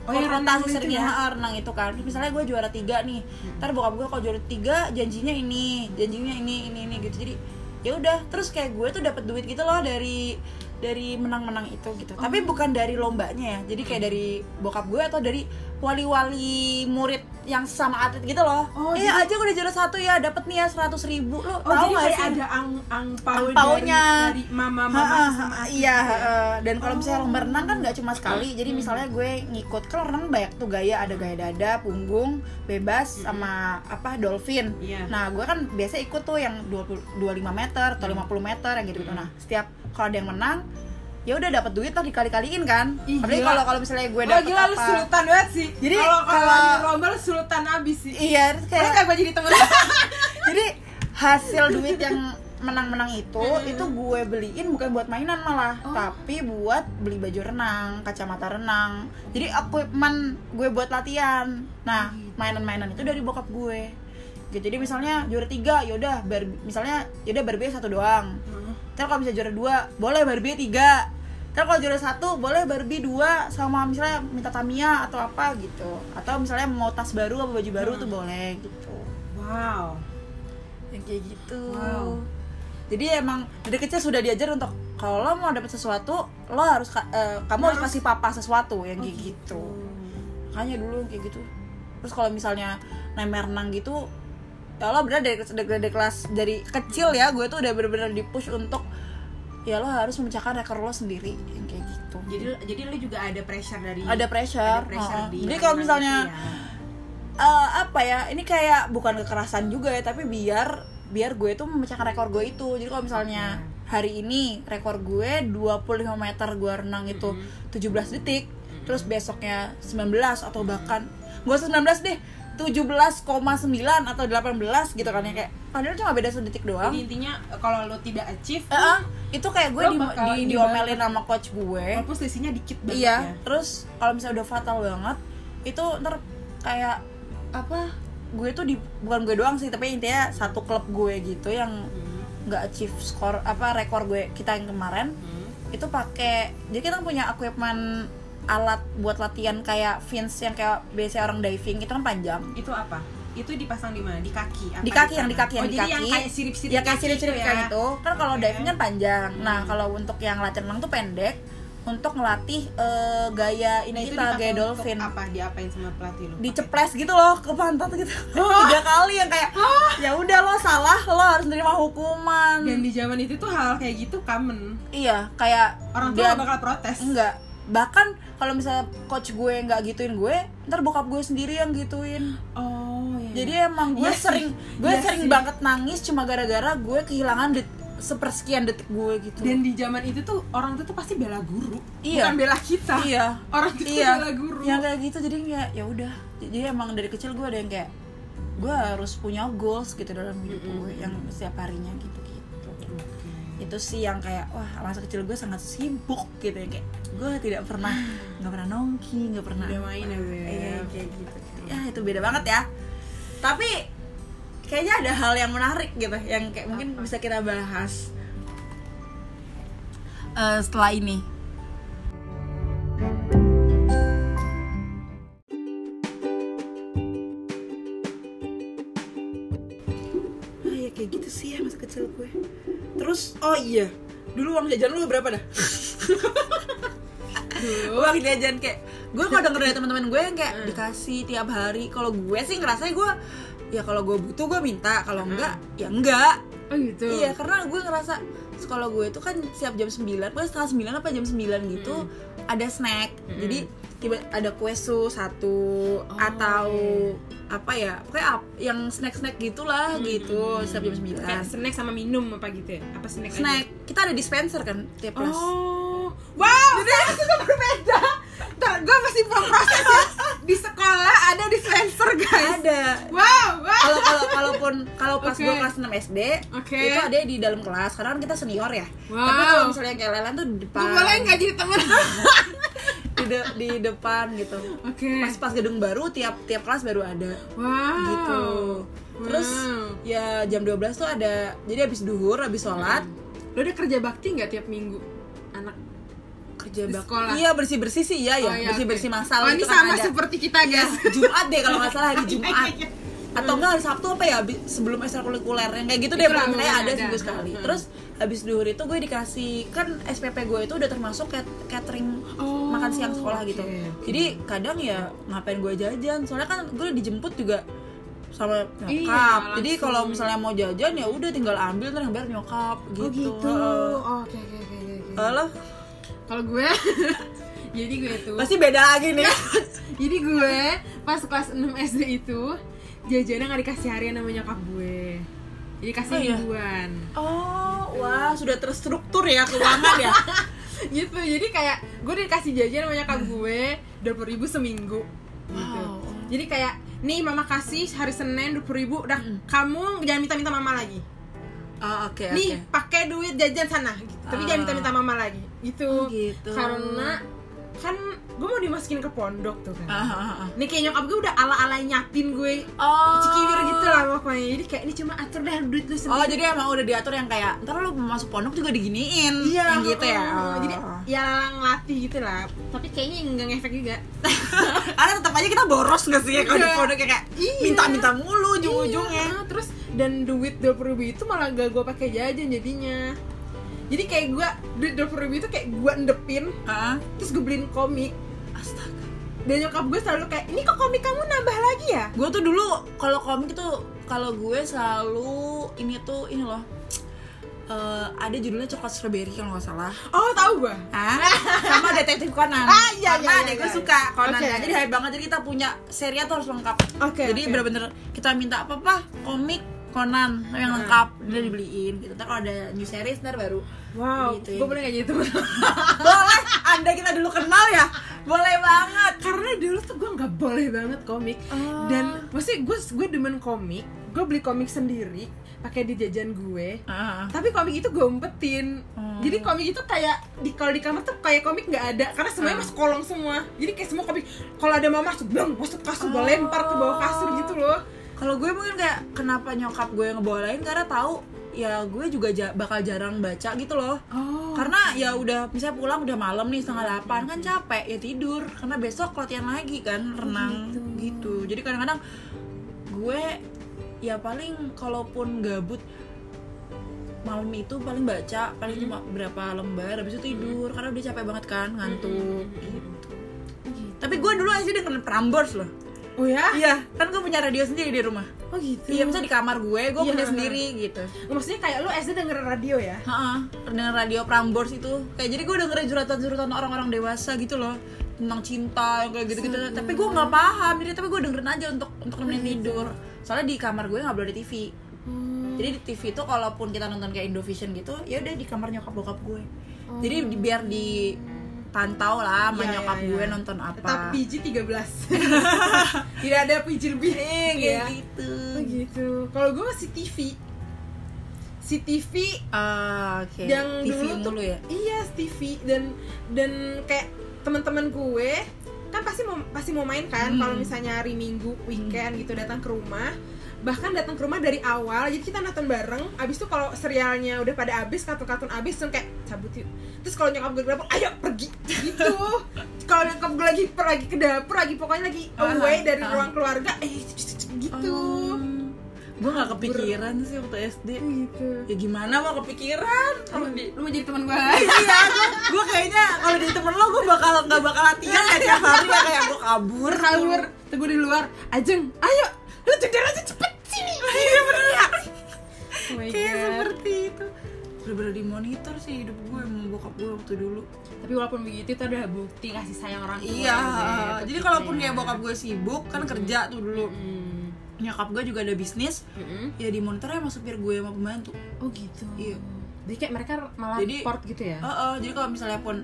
Speaker 2: Oh, yang renang itu
Speaker 1: sering
Speaker 2: ya? Hmm.
Speaker 1: ya, renang itu kan Terus misalnya gue juara tiga nih ntar bokap gue kalau juara tiga janjinya ini janjinya ini ini ini gitu jadi ya udah terus kayak gue tuh dapat duit gitu loh dari dari menang-menang itu gitu
Speaker 2: Oh.
Speaker 1: tapi bukan dari lombanya ya jadi kayak
Speaker 2: Hmm.
Speaker 1: dari bokap gue atau dari wali-wali murid yang sama atlet gitu loh
Speaker 2: Oh,
Speaker 1: iya aja gue udah juara satu ya dapat nih ya seratus ribu lo
Speaker 2: oh,
Speaker 1: tau
Speaker 2: jadi
Speaker 1: gak
Speaker 2: kayak
Speaker 1: sih
Speaker 2: ada ang angpau dari,
Speaker 1: Angpaunya.
Speaker 2: dari mama-mama
Speaker 1: Heeh,
Speaker 2: sama gitu ya.
Speaker 1: heeh, iya heeh. dan kalau misalnya
Speaker 2: Oh.
Speaker 1: lomba renang kan nggak cuma sekali
Speaker 2: Hmm,
Speaker 1: jadi misalnya gue ngikut kalau renang banyak tuh gaya ada gaya dada punggung bebas sama apa dolphin
Speaker 2: Hmm, Iya.
Speaker 1: nah gue kan biasa
Speaker 2: Hmm.
Speaker 1: ikut tuh yang 20, 25 meter atau 50 meter yang gitu nah setiap kalau ada yang menang ya udah dapat duit lah dikali-kaliin kan
Speaker 2: Ih,
Speaker 1: apalagi
Speaker 2: gila.
Speaker 1: kalau kalau misalnya gue
Speaker 2: Wah
Speaker 1: dapet
Speaker 2: gila lu
Speaker 1: apa
Speaker 2: sultan banget sih
Speaker 1: Jadi,
Speaker 2: Kalau kalau
Speaker 1: kalau-
Speaker 2: di lomba lu sultan abis sih
Speaker 1: iya terus
Speaker 2: Kayak
Speaker 1: kayak
Speaker 2: kagak jadi temen
Speaker 1: jadi hasil duit yang menang-menang itu itu gue beliin bukan buat mainan malah
Speaker 2: Oh.
Speaker 1: tapi buat beli baju renang kacamata renang jadi equipment gue buat latihan nah mainan-mainan itu dari bokap gue gitu jadi misalnya juara tiga yaudah Barbie- misalnya ya yaudah Barbie satu doang Ntar kalau bisa juara dua, boleh Barbie tiga. Ntar kalau juara satu, boleh Barbie dua sama misalnya minta Tamiya atau apa gitu. Atau misalnya mau tas baru apa baju baru tuh boleh gitu.
Speaker 2: Wow
Speaker 1: Yang kayak gitu.
Speaker 2: Wow.
Speaker 1: Jadi emang dari kecil sudah diajar untuk kalau lo mau dapet sesuatu, lo harus ka- eh, kamu harus kasih papa sesuatu yang kayak gitu. Makanya dulu kayak gitu. Terus kalau misalnya nemer renang gitu, ya lo bener dari, dari, dari kelas dari kecil ya, gue tuh udah bener-bener di push untuk ya lo harus memecahkan rekor lo sendiri yang kayak gitu.
Speaker 2: Jadi jadi lu juga ada pressure dari
Speaker 1: ada pressure.
Speaker 2: ada pressure
Speaker 1: ha-ha.
Speaker 2: di
Speaker 1: Jadi kalau
Speaker 2: anak
Speaker 1: misalnya
Speaker 2: itu ya.
Speaker 1: eh apa ya ini kayak bukan kekerasan juga ya tapi biar biar gue tuh memecahkan rekor gue itu jadi kalau
Speaker 2: Hmm.
Speaker 1: misalnya hari ini rekor gue 25 meter gue renang itu
Speaker 2: Hmm.
Speaker 1: 17 detik terus besoknya 19 atau bahkan gue 19 deh 17,9 atau 18 gitu kan ya kayak padahal cuma beda sedetik doang
Speaker 2: Jadi intinya eh, kalau lu tidak achieve
Speaker 1: Eh, eh, itu kayak gue
Speaker 2: Lo
Speaker 1: di,
Speaker 2: bakal
Speaker 1: di-
Speaker 2: dibantu.
Speaker 1: diomelin sama coach gue
Speaker 2: Walaupun selisihnya Eh. dikit banget
Speaker 1: iya
Speaker 2: ya.
Speaker 1: terus kalau misalnya udah fatal banget itu ntar kayak apa gue tuh di bukan gue doang sih tapi intinya satu klub gue gitu yang
Speaker 2: Hmm,
Speaker 1: nggak achieve skor apa rekor gue kita yang kemarin
Speaker 2: hmm.
Speaker 1: itu pakai jadi kita punya equipment alat buat latihan kayak fins yang kayak biasa orang diving itu kan panjang
Speaker 2: Itu apa? Itu dipasang di mana? Di kaki apa
Speaker 1: di kaki yang di
Speaker 2: tangan?
Speaker 1: kaki yang
Speaker 2: oh,
Speaker 1: di
Speaker 2: jadi
Speaker 1: kaki
Speaker 2: yang kayak sirip-sirip
Speaker 1: ya kayak
Speaker 2: kaki
Speaker 1: sirip-sirip
Speaker 2: itu
Speaker 1: kayak
Speaker 2: ya.
Speaker 1: gitu kan kalau
Speaker 2: Oke. Hmm.
Speaker 1: diving kan panjang nah kalau untuk yang latihan renang tuh pendek untuk ngelatih eh, gaya
Speaker 2: Nah,
Speaker 1: ini kita
Speaker 2: itu dipakai
Speaker 1: gaya
Speaker 2: untuk
Speaker 1: dolphin
Speaker 2: apa diapain sama pelatih lu?
Speaker 1: diceples gitu loh ke pantat gitu tiga kali yang kayak ya udah lo salah lo harus nerima hukuman
Speaker 2: Dan di zaman itu tuh hal kayak gitu common.
Speaker 1: iya kayak
Speaker 2: Orang tua
Speaker 1: dia-
Speaker 2: nggak bakal protes.
Speaker 1: enggak bahkan kalau misalnya coach gue nggak gituin gue ntar bokap gue sendiri yang gituin
Speaker 2: Oh, iya.
Speaker 1: jadi emang gue
Speaker 2: Iya sih.
Speaker 1: sering gue
Speaker 2: Iya
Speaker 1: sering
Speaker 2: sih.
Speaker 1: banget nangis cuma gara-gara gue kehilangan det- sepersekian detik gue gitu
Speaker 2: dan di zaman itu tuh orang tuh tuh pasti bela guru,
Speaker 1: Iya.
Speaker 2: bukan bela kita.
Speaker 1: iya
Speaker 2: Ah, Orang tuh
Speaker 1: iya
Speaker 2: bela guru.
Speaker 1: yang kayak gitu jadi kayak ya udah jadi emang dari kecil gue ada yang kayak gue harus punya goals gitu dalam hidup gue yang setiap harinya gitu gitu
Speaker 2: Oke.
Speaker 1: itu sih yang kayak wah masa kecil gue sangat sibuk gitu ya kayak gue tidak pernah nggak pernah nongki nggak pernah
Speaker 2: Udah main ya, Beb.
Speaker 1: Iya, kayak gitu ya itu beda banget ya tapi kayaknya ada hal yang menarik gitu yang kayak mungkin bisa kita bahas eh, setelah ini Ah, ya kayak gitu sih ya masa kecil gue terus oh iya dulu uang jajan lu berapa dah uang jajan kayak gue kalau denger dari teman-teman gue yang kayak dikasih tiap hari kalau gue sih ngerasanya gue ya kalau gue butuh gue minta kalau enggak ya enggak
Speaker 2: Oh gitu.
Speaker 1: Iya, karena gue ngerasa sekolah gue itu kan siap jam 9, pokoknya setengah 9 apa jam 9 gitu
Speaker 2: Hmm.
Speaker 1: ada snack. Jadi tiba ada kue su satu
Speaker 2: Oh,
Speaker 1: atau
Speaker 2: iya,
Speaker 1: apa ya? Pokoknya ap- yang snack-snack gitulah
Speaker 2: Hmm,
Speaker 1: gitu setiap jam
Speaker 2: Kayak
Speaker 1: 9.
Speaker 2: snack sama minum apa gitu ya? Apa snack? aja?
Speaker 1: Snack. Kita ada dispenser kan tiap kelas.
Speaker 2: Oh, wow, saya itu berbeda. Ntar gue masih proses ya. Di sekolah ada dispenser guys.
Speaker 1: Ada.
Speaker 2: Wow, wow.
Speaker 1: Kalau kalau kalaupun kalau pas
Speaker 2: Oke.
Speaker 1: gue kelas 6 SD,
Speaker 2: Oke.
Speaker 1: itu ada di dalam kelas karena kan kita senior ya.
Speaker 2: Wow.
Speaker 1: Tapi kalau misalnya kayak Lelan tuh di depan.
Speaker 2: Lu boleh nggak jadi temen?
Speaker 1: Di, de- di depan gitu.
Speaker 2: Oke.
Speaker 1: pas pas gedung baru tiap tiap kelas baru ada
Speaker 2: Wow.
Speaker 1: gitu terus
Speaker 2: Wow.
Speaker 1: ya jam 12 tuh ada jadi habis duhur habis sholat
Speaker 2: Lo udah kerja bakti nggak tiap minggu? Anak
Speaker 1: kerja
Speaker 2: Di
Speaker 1: bak-
Speaker 2: sekolah.
Speaker 1: iya bersih bersih sih iya ya
Speaker 2: Oh, iya,
Speaker 1: bersih bersih
Speaker 2: oke.
Speaker 1: masal
Speaker 2: Oh,
Speaker 1: gitu
Speaker 2: ini
Speaker 1: kan
Speaker 2: sama
Speaker 1: ada. Iya.
Speaker 2: seperti kita guys.
Speaker 1: Jumat deh kalau nggak salah hari Jumat
Speaker 2: Iya, iya.
Speaker 1: atau enggak hari Sabtu apa ya habis- sebelum ekstrakurikuler yang kayak gitu deh
Speaker 2: Itulah,
Speaker 1: pokoknya
Speaker 2: pokoknya
Speaker 1: ada
Speaker 2: ada.
Speaker 1: seminggu sekali
Speaker 2: Hmm.
Speaker 1: terus habis duhur itu gue dikasih kan SPP gue itu udah termasuk cat- catering
Speaker 2: Oh,
Speaker 1: makan siang sekolah gitu
Speaker 2: oke, oke.
Speaker 1: jadi kadang ya ngapain gue jajan soalnya kan gue dijemput juga sama nyokap
Speaker 2: Iya,
Speaker 1: jadi
Speaker 2: langsung.
Speaker 1: kalau misalnya mau jajan ya udah tinggal ambil ntar yang bayar nyokap gitu,
Speaker 2: Oh gitu. Oh, Oke oke oke oke, oke.
Speaker 1: Eh, lo
Speaker 2: Kalau gue jadi gue itu
Speaker 1: pasti beda lagi nih
Speaker 2: jadi gue pas kelas 6 SD itu jajannya nggak dikasih harian sama nyokap gue jadi kasih
Speaker 1: Oh, iya?
Speaker 2: mingguan
Speaker 1: oh wah sudah terstruktur ya keuangan ya
Speaker 2: gitu jadi kayak gue dikasih jajan sama nyokap gue dua ribu seminggu gitu
Speaker 1: Wow.
Speaker 2: jadi kayak nih mama kasih hari senin dua ribu udah kamu jangan minta-minta mama lagi
Speaker 1: Oh, oke oke.
Speaker 2: nih pakai duit jajan sana gitu. tapi
Speaker 1: Ah.
Speaker 2: jangan minta-minta mama lagi
Speaker 1: Oh,
Speaker 2: gitu,
Speaker 1: gitu.
Speaker 2: karena kan gue mau dimasukin ke pondok tuh kan
Speaker 1: Ah, ah, ah.
Speaker 2: Nih kayak nyokap gue udah ala-ala nyapin gue
Speaker 1: Oh.
Speaker 2: Cikiwir gitu lah pokoknya Jadi kayak ini cuma atur dah duit lu sendiri
Speaker 1: Oh jadi emang udah diatur yang kayak ntar lu mau masuk pondok juga diginiin
Speaker 2: Iya
Speaker 1: yang gitu ya.
Speaker 2: heeh.
Speaker 1: Oh.
Speaker 2: Jadi ya ngelatih gitu lah Tapi kayaknya nggak ngefek juga
Speaker 1: karena tetap aja kita boros gak sih ya kalau di
Speaker 2: Iya.
Speaker 1: pondok kayak kayak
Speaker 2: Iya.
Speaker 1: minta-minta mulu
Speaker 2: Iya,
Speaker 1: ujung-ujungnya.
Speaker 2: heeh. Terus dan duit 20 ribu itu malah gak gue pakai jajan jadinya Jadi kayak gue duit 20 ribu itu kayak gue endepin
Speaker 1: Hah?
Speaker 2: Terus gue beliin komik
Speaker 1: Astaga.
Speaker 2: Dan nyokap gue selalu kayak ini kok komik kamu nambah lagi ya?
Speaker 1: Gue tuh dulu kalau komik tuh kalau gue selalu ini tuh ini loh. eh, ada judulnya coklat strawberry kalau nggak salah.
Speaker 2: Oh tahu gue
Speaker 1: Hah? sama detektif Conan.
Speaker 2: Ah, iya,
Speaker 1: Karena
Speaker 2: iya,
Speaker 1: adek
Speaker 2: iya,
Speaker 1: gue
Speaker 2: iya.
Speaker 1: suka Conan.
Speaker 2: Oke.
Speaker 1: kan. Jadi hype banget jadi kita punya seri tuh harus lengkap.
Speaker 2: Oke,
Speaker 1: jadi
Speaker 2: oke.
Speaker 1: bener-bener kita minta apa apa komik Conan yang lengkap udah dibeliin gitu. Ntar kalau ada new series ntar baru.
Speaker 2: Wow,
Speaker 1: Gitu ya.
Speaker 2: gue boleh gak jadi temen
Speaker 1: Boleh. Anda kita dulu kenal ya. Boleh banget.
Speaker 2: karena dulu tuh gue nggak boleh banget komik
Speaker 1: Oh.
Speaker 2: dan maksudnya gue gue demen komik gue beli komik sendiri pakai di jajan gue tapi komik itu gue umpetin
Speaker 1: Oh.
Speaker 2: jadi komik itu kayak di kalau di kamar tuh kayak komik nggak ada karena
Speaker 1: Hmm.
Speaker 2: semuanya masuk kolong semua jadi kayak semua komik kalau ada mama masuk bang masuk kasur gue
Speaker 1: Oh.
Speaker 2: lempar ke bawah kasur gitu loh
Speaker 1: Kalau gue mungkin kayak kenapa nyokap gue ngebolehin karena tahu ya gue juga ja- bakal jarang baca gitu loh.
Speaker 2: oh
Speaker 1: karena ya udah misalnya pulang udah malam nih setengah delapan kan capek ya tidur karena besok latihan lagi kan renang
Speaker 2: gitu.
Speaker 1: gitu. jadi kadang-kadang gue ya paling kalaupun gabut malam itu paling baca paling cuma berapa lembar habis itu tidur karena udah capek banget kan ngantuk gitu tapi gue dulu aja dengerin Prambors loh
Speaker 2: oh ya
Speaker 1: iya kan gue punya radio sendiri di rumah
Speaker 2: oh gitu
Speaker 1: iya misalnya di kamar gue gue
Speaker 2: Iya.
Speaker 1: punya sendiri gitu
Speaker 2: maksudnya kayak lu SD dengerin radio ya
Speaker 1: Heeh, dengan radio Prambors itu kayak jadi gue dengerin juratan-juratan orang-orang dewasa gitu loh tentang cinta yang kayak gitu-gitu
Speaker 2: Hmm.
Speaker 1: tapi gue nggak paham jadi tapi gue dengerin aja untuk untuk nemenin
Speaker 2: Iya,
Speaker 1: tidur soalnya di kamar gue nggak boleh ada TV
Speaker 2: Hmm.
Speaker 1: jadi di TV itu kalaupun kita nonton kayak Indovision gitu ya udah di kamar nyokap bokap gue jadi di- biar dipantau lah sama
Speaker 2: Oh. Iya,
Speaker 1: nyokap
Speaker 2: iya,
Speaker 1: gue
Speaker 2: iya.
Speaker 1: nonton apa
Speaker 2: tetap PG 13 tidak ada PG lebih
Speaker 1: Eh, kayak
Speaker 2: ya.
Speaker 1: gitu
Speaker 2: Oh gitu. Kalau gue masih TV. Si TV
Speaker 1: Ah, oke
Speaker 2: yang
Speaker 1: TV
Speaker 2: dulu tuh
Speaker 1: mulu ya
Speaker 2: Iya, si TV dan dan kayak teman-teman gue kan pasti mau pasti mau main kan
Speaker 1: Hmm.
Speaker 2: kalau misalnya hari Minggu weekend gitu datang ke rumah bahkan datang ke rumah dari awal jadi kita nonton bareng abis itu kalau serialnya udah pada abis kartun-kartun abis tuh kayak cabut yuk terus kalau nyokap gue ke dapur ayo pergi gitu kalau nyokap gue lagi per- lagi ke dapur lagi pokoknya lagi
Speaker 1: Ah,
Speaker 2: away dari
Speaker 1: ah. Oh.
Speaker 2: ruang keluarga eh gitu
Speaker 1: gue nggak kepikiran sih waktu SD
Speaker 2: gitu
Speaker 1: ya gimana mau kepikiran kalau di
Speaker 2: lu mau jadi teman gue
Speaker 1: iya gue kayaknya kalau di temen lo gue bakal nggak bakal latihan ya tiap hari ya kayak gue kabur
Speaker 2: kabur teguh di luar ajeng ayo lu jedar aja cepet sini
Speaker 1: iya bener ya
Speaker 2: oh my
Speaker 1: kayak gitu.
Speaker 2: God.
Speaker 1: seperti itu bener-bener dimonitor sih hidup gue sama bokap gue waktu dulu
Speaker 2: tapi walaupun begitu itu udah bukti kasih sayang orang tua
Speaker 1: iya
Speaker 2: Zed.
Speaker 1: jadi
Speaker 2: Bukti ya.
Speaker 1: kalaupun kayak
Speaker 2: sayang.
Speaker 1: bokap gue sibuk kan kerja tuh dulu
Speaker 2: Mm.
Speaker 1: nyokap gue juga ada bisnis
Speaker 2: Mm-mm.
Speaker 1: ya di monitornya sama supir gue sama pembantu
Speaker 2: oh gitu
Speaker 1: Iya.
Speaker 2: jadi kayak mereka malah
Speaker 1: Jadi-
Speaker 2: port gitu ya
Speaker 1: Heeh, jadi kalau misalnya pun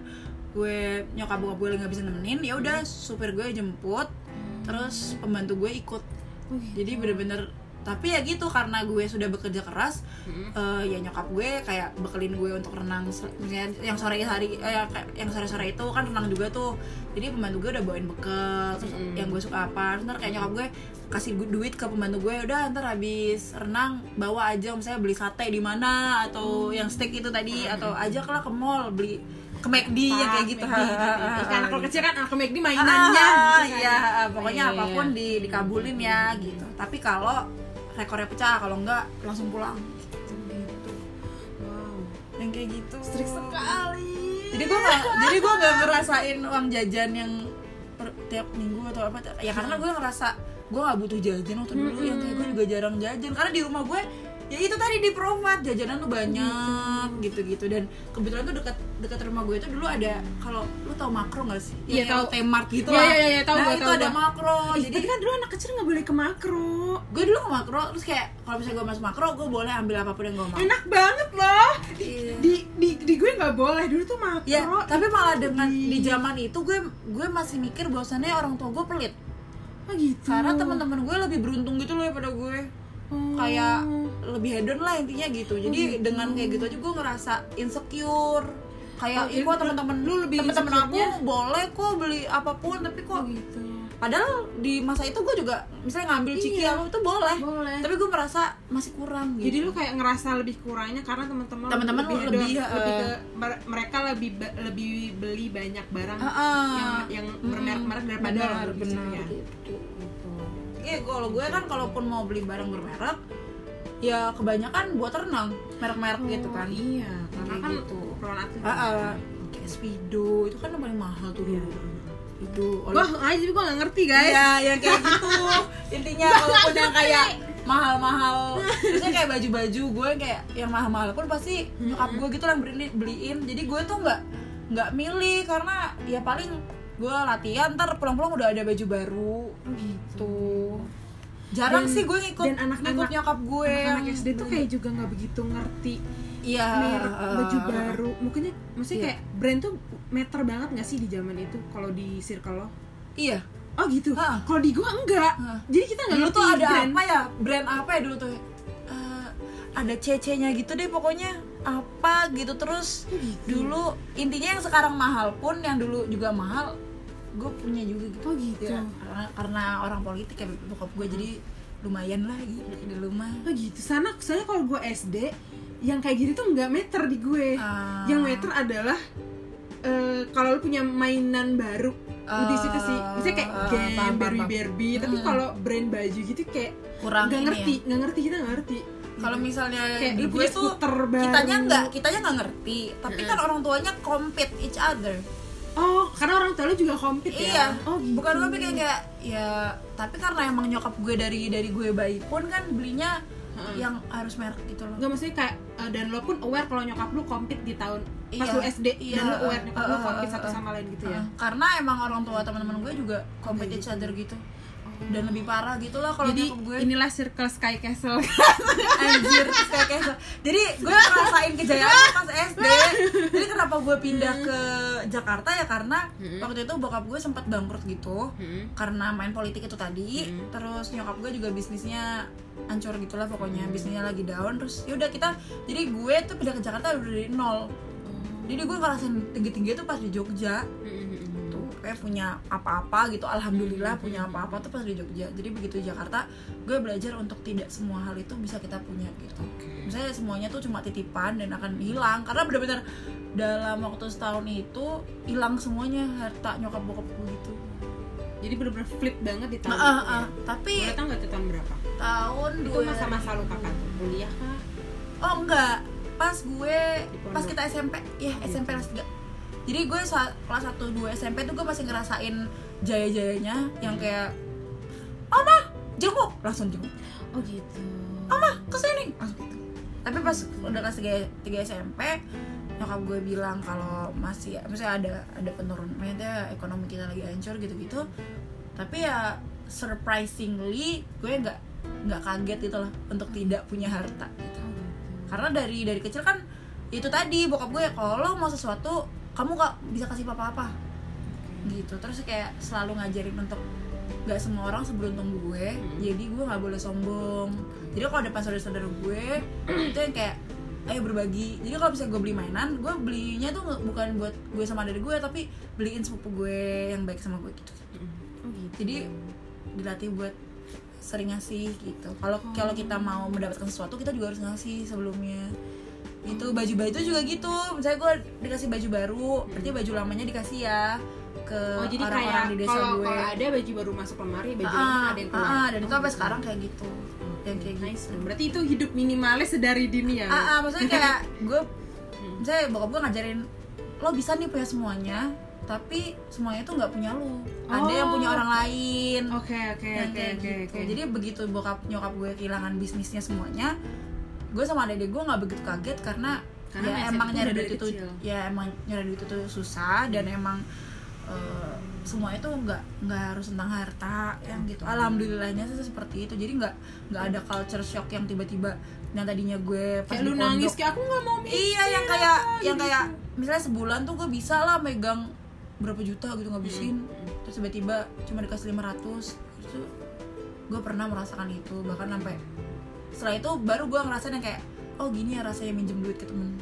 Speaker 1: gue nyokap bokap gue lagi nggak bisa nemenin, ya udah supir gue jemput, Hmm. terus pembantu gue ikut.
Speaker 2: Oh, gitu.
Speaker 1: Jadi bener-bener tapi ya gitu karena gue sudah bekerja keras,
Speaker 2: Mm-mm.
Speaker 1: eh, ya nyokap gue kayak bekelin gue untuk renang se- misalnya yang sore hari eh, yang kayak- yang sore-sore itu kan renang juga tuh. Jadi pembantu gue udah bawain bekal, terus
Speaker 2: Mm-mm.
Speaker 1: yang gue suka apa, ntar kayak nyokap gue kasih gu- duit ke pembantu gue udah ntar habis renang bawa aja misalnya beli sate di mana atau yang steak itu tadi atau ajaklah ke mall beli ke McD yang kayak gitu
Speaker 2: Pak, McD, McD. Kan kalau kecil kan anak McD
Speaker 1: Ah,
Speaker 2: mainannya gitu kan.
Speaker 1: iya, pokoknya
Speaker 2: Iya, iya,
Speaker 1: apapun
Speaker 2: iya.
Speaker 1: di dikabulin ya gitu. Tapi kalau rekornya pecah, kalau enggak langsung pulang.
Speaker 2: Gitu. wow
Speaker 1: Yang kayak gitu.
Speaker 2: trik sekali
Speaker 1: Jadi gua nggak, jadi gua nggak ngerasain uang jajan yang per- tiap minggu atau apa. Ya karena gue ngerasa gue nggak butuh jajan waktu dulu. Yang kayak gue juga jarang jajan karena di rumah gue ya itu tadi di Provat jajanan tuh banyak gitu-gitu dan kebetulan tuh dekat dekat rumah gue itu dulu ada kalau lu tau makro nggak sih?
Speaker 2: Iya,
Speaker 1: Yang
Speaker 2: tahu.
Speaker 1: Temart gitu
Speaker 2: Iya,
Speaker 1: lah.
Speaker 2: iya, iya, tahu
Speaker 1: nah,
Speaker 2: gua,
Speaker 1: itu
Speaker 2: tahu
Speaker 1: ada
Speaker 2: gua.
Speaker 1: makro.
Speaker 2: Ih,
Speaker 1: Jadi
Speaker 2: tapi kan dulu anak kecil nggak boleh ke makro
Speaker 1: gue dulu ke makro terus kayak kalau misalnya gue masuk makro gue boleh ambil apapun yang gue mau
Speaker 2: enak banget loh
Speaker 1: Iya.
Speaker 2: di di di gue nggak boleh dulu tuh makro
Speaker 1: Ya, tapi
Speaker 2: itu
Speaker 1: malah dengan di
Speaker 2: di-
Speaker 1: zaman itu gue gue masih mikir bahwasannya orang tua gue pelit.
Speaker 2: oh, gitu
Speaker 1: Karena teman-teman gue lebih beruntung gitu loh daripada gue.
Speaker 2: Oh.
Speaker 1: Kayak lebih hedon lah intinya gitu. Jadi
Speaker 2: Hmm.
Speaker 1: dengan kayak gitu aja gue ngerasa insecure.
Speaker 2: Oh,
Speaker 1: Kayak
Speaker 2: jadi
Speaker 1: ih kok teman-teman
Speaker 2: lu lebih
Speaker 1: teman-teman aku
Speaker 2: insecure-nya-
Speaker 1: boleh kok beli apapun tapi kok
Speaker 2: oh, gitu
Speaker 1: padahal di masa itu gue juga misalnya ngambil ciki
Speaker 2: Iya.
Speaker 1: apa itu boleh.
Speaker 2: Boleh.
Speaker 1: Tapi gue merasa masih kurang gitu.
Speaker 2: jadi lu kayak ngerasa lebih kurangnya karena teman-teman
Speaker 1: Teman-teman
Speaker 2: lebih,
Speaker 1: lebih,
Speaker 2: hedon,
Speaker 1: eh,
Speaker 2: lebih ke mer- mereka lebih ba- lebih beli banyak barang
Speaker 1: Heeh.
Speaker 2: yang yang bermerek-merek daripada
Speaker 1: Ah, Benar,
Speaker 2: orang gitu
Speaker 1: benar.
Speaker 2: ya.
Speaker 1: Iya, kalau gue kan kalaupun mau beli barang bermerek, ya kebanyakan buat renang, merek-merek gitu kan.
Speaker 2: iya karena
Speaker 1: Kayak
Speaker 2: kan
Speaker 1: gitu.
Speaker 2: keperluan atlet
Speaker 1: Ah, ah. kayak Speedo itu kan yang paling mahal tuh dulu. Itu
Speaker 2: Wah, aja tapi gue gak ngerti guys
Speaker 1: Iya, yang kayak gitu. Intinya walaupun yang kayak mahal-mahal, maksudnya kayak baju-baju gue yang kayak yang mahal-mahal pun pasti nyokap gue gitu yang beliin, beliin. Jadi gue tuh nggak nggak milih karena ya paling gue latihan ntar pulang-pulang udah ada baju baru gitu. Jarang
Speaker 2: Oh, Dan-
Speaker 1: sih gue ngikut
Speaker 2: dan anak-anak-
Speaker 1: ngikut nyokap gue.
Speaker 2: anak
Speaker 1: yang
Speaker 2: SD tuh
Speaker 1: beli.
Speaker 2: kayak juga nggak begitu ngerti
Speaker 1: iya,
Speaker 2: merek baju
Speaker 1: eh,
Speaker 2: baru mungkinnya maksudnya
Speaker 1: Iya.
Speaker 2: kayak brand tuh meter banget nggak sih di zaman itu kalau di circle lo
Speaker 1: Iya.
Speaker 2: oh gitu
Speaker 1: Ha.
Speaker 2: kalau di gua enggak
Speaker 1: Ha.
Speaker 2: jadi kita
Speaker 1: Ah.
Speaker 2: nggak
Speaker 1: Dulu
Speaker 2: ngerti
Speaker 1: tuh ada
Speaker 2: brand
Speaker 1: apa ya? Brand apa ya dulu tuh? Eh, ada CC-nya gitu deh pokoknya apa gitu terus
Speaker 2: Oh,
Speaker 1: dulu intinya yang sekarang mahal pun yang dulu juga mahal gue punya juga gitu
Speaker 2: Oh, gitu.
Speaker 1: Ya, karena, karena orang politik ya bokap gue jadi lumayan lah gitu di rumah
Speaker 2: oh gitu sana soalnya kalau gua SD yang kayak gitu tuh nggak meter di gue
Speaker 1: Ah.
Speaker 2: Eh, yang meter adalah eh, kalau lu punya mainan baru
Speaker 1: Ah.
Speaker 2: di situ sih misalnya kayak
Speaker 1: Ah,
Speaker 2: game
Speaker 1: paham, paham,
Speaker 2: Barbie
Speaker 1: paham.
Speaker 2: Barbie tapi
Speaker 1: Hmm.
Speaker 2: kalau brand baju gitu kayak
Speaker 1: Kurang ini
Speaker 2: nggak
Speaker 1: ya. Eh,
Speaker 2: ngerti nggak ngerti kita nggak ngerti
Speaker 1: kalau misalnya
Speaker 2: Kayak
Speaker 1: di
Speaker 2: lu
Speaker 1: gue
Speaker 2: punya
Speaker 1: tuh
Speaker 2: skuter baru.
Speaker 1: kitanya nggak kitanya nggak ngerti tapi kan orang tuanya compete each other
Speaker 2: oh karena orang tua lu juga kompet
Speaker 1: Iya,
Speaker 2: ya oh gitu.
Speaker 1: bukan gue pikir kayak ya tapi karena emang nyokap gue dari dari gue bayi pun kan belinya yang harus merek gitu loh.
Speaker 2: Gak maksudnya kayak uh, dan lo pun aware kalau nyokap lu kompet di tahun pas
Speaker 1: Iya.
Speaker 2: lu SD
Speaker 1: Iya,
Speaker 2: dan lo aware nyokap lu
Speaker 1: uh, uh,
Speaker 2: kompet
Speaker 1: uh,
Speaker 2: satu
Speaker 1: uh.
Speaker 2: sama lain gitu ya.
Speaker 1: Heeh. Karena emang orang tua teman-teman gue juga compete each other gitu. Dan lebih parah gitu lah kalau
Speaker 2: Jadi
Speaker 1: nyokap gue
Speaker 2: inilah circle Sky Castle.
Speaker 1: anjir kayak kayak so- Jadi gue ngerasain kejayaan gue pas SD. Jadi kenapa gue pindah ke Jakarta ya karena waktu itu bokap gue sempat bangkrut gitu. karena main politik itu tadi terus nyokap gue juga bisnisnya hancur gitulah pokoknya bisnisnya lagi down terus yaudah kita jadi gue tuh pindah ke Jakarta udah dari nol jadi gue ngerasain tinggi-tinggi tuh pas di Jogja tuh kayak punya apa-apa gitu alhamdulillah punya apa-apa tuh pas di Jogja jadi begitu di Jakarta gue belajar untuk tidak semua hal itu bisa kita punya gitu misalnya semuanya tuh cuma titipan dan akan hilang karena benar-benar dalam waktu setahun itu hilang semuanya harta nyokap bokap gue gitu
Speaker 2: Jadi bener-bener flip banget di tahun.
Speaker 1: Ah, ah,
Speaker 2: itu
Speaker 1: ah.
Speaker 2: ya.
Speaker 1: tapi
Speaker 2: Boleh tau nggak itu tahun berapa?
Speaker 1: tahun
Speaker 2: Itu
Speaker 1: dua
Speaker 2: masa-masa lu kapan? Kuliah kah?
Speaker 1: oh enggak pas gue
Speaker 2: Di pondok. Iya.
Speaker 1: pas kita SMP ya SMP kelas 3 jadi gue sa- kelas 1 2 SMP tuh gue masih ngerasain jaya-jayanya yang kayak Oma jenguk langsung jenguk
Speaker 2: Oh gitu.
Speaker 1: Oma kesini langsung gitu. tapi pas udah kelas 3, 3 SMP nyokap gue bilang kalau masih misalnya ada ada penurunan maksudnya ekonomi kita lagi hancur gitu-gitu tapi ya surprisingly gue nggak nggak kaget gitu loh untuk tidak punya harta gitu karena dari dari kecil kan itu tadi bokap gue ya, kalau lo mau sesuatu kamu gak bisa kasih papa apa gitu terus kayak selalu ngajarin untuk nggak semua orang seberuntung gue jadi gue nggak boleh sombong jadi kalau depan saudara-saudara gue itu yang kayak ayo berbagi jadi kalau misalnya gue beli mainan gue belinya tuh nggak- bukan buat gue sama dari gue tapi beliin sepupu gue yang baik sama gue gitu
Speaker 2: Oh gitu.
Speaker 1: jadi dilatih buat sering ngasih gitu kalau
Speaker 2: Hmm.
Speaker 1: kalau kita mau mendapatkan sesuatu kita juga harus ngasih sebelumnya gitu baju baju juga gitu misalnya gue dikasih baju baru berarti baju lamanya dikasih ya ke
Speaker 2: Hmm. Oh jadi kayak
Speaker 1: orang-orang di desa
Speaker 2: kalau
Speaker 1: gue
Speaker 2: kalau ada baju baru masuk lemari, baju lama
Speaker 1: ah,
Speaker 2: ada
Speaker 1: ah,
Speaker 2: yang keluar. Hmm.
Speaker 1: ah, dan itu sampai sekarang kayak gitu yang kayak
Speaker 2: Nice.
Speaker 1: gitu
Speaker 2: Berarti itu hidup minimalis dari dini ya.
Speaker 1: ah,
Speaker 2: Mm.
Speaker 1: ah, maksudnya kayak gue misalnya bokap gue ngajarin lo bisa nih punya semuanya tapi semuanya tuh nggak punya lu ada yang punya
Speaker 2: Oh.
Speaker 1: orang lain
Speaker 2: Oke oke
Speaker 1: Yang
Speaker 2: oke
Speaker 1: kayak
Speaker 2: oke
Speaker 1: gitu.
Speaker 2: oke.
Speaker 1: Jadi begitu bokap nyokap gue kehilangan bisnisnya semuanya, gue sama adek gue nggak begitu kaget karena,
Speaker 2: Karena
Speaker 1: ya
Speaker 2: mindset
Speaker 1: emang
Speaker 2: itu
Speaker 1: nyari
Speaker 2: udah
Speaker 1: duit
Speaker 2: dari
Speaker 1: itu
Speaker 2: kecil.
Speaker 1: ya emang nyari duit itu susah dan emang eh, semuanya tuh nggak nggak harus tentang harta yang gitu alhamdulillahnya sih seperti itu jadi nggak nggak ada culture shock yang tiba-tiba yang tadinya gue pas
Speaker 2: kayak lu
Speaker 1: di
Speaker 2: nangis
Speaker 1: pondok,
Speaker 2: kayak aku nggak mau mikir
Speaker 1: iya yang kayak
Speaker 2: apa,"
Speaker 1: yang
Speaker 2: gitu.
Speaker 1: kayak misalnya sebulan tuh gue bisa lah megang berapa juta gitu ngabisin terus tiba-tiba cuma dikasih 500 terus tuh gue pernah merasakan itu bahkan sampai setelah itu baru gue ngerasain yang kayak oh gini ya rasanya minjem duit ke temen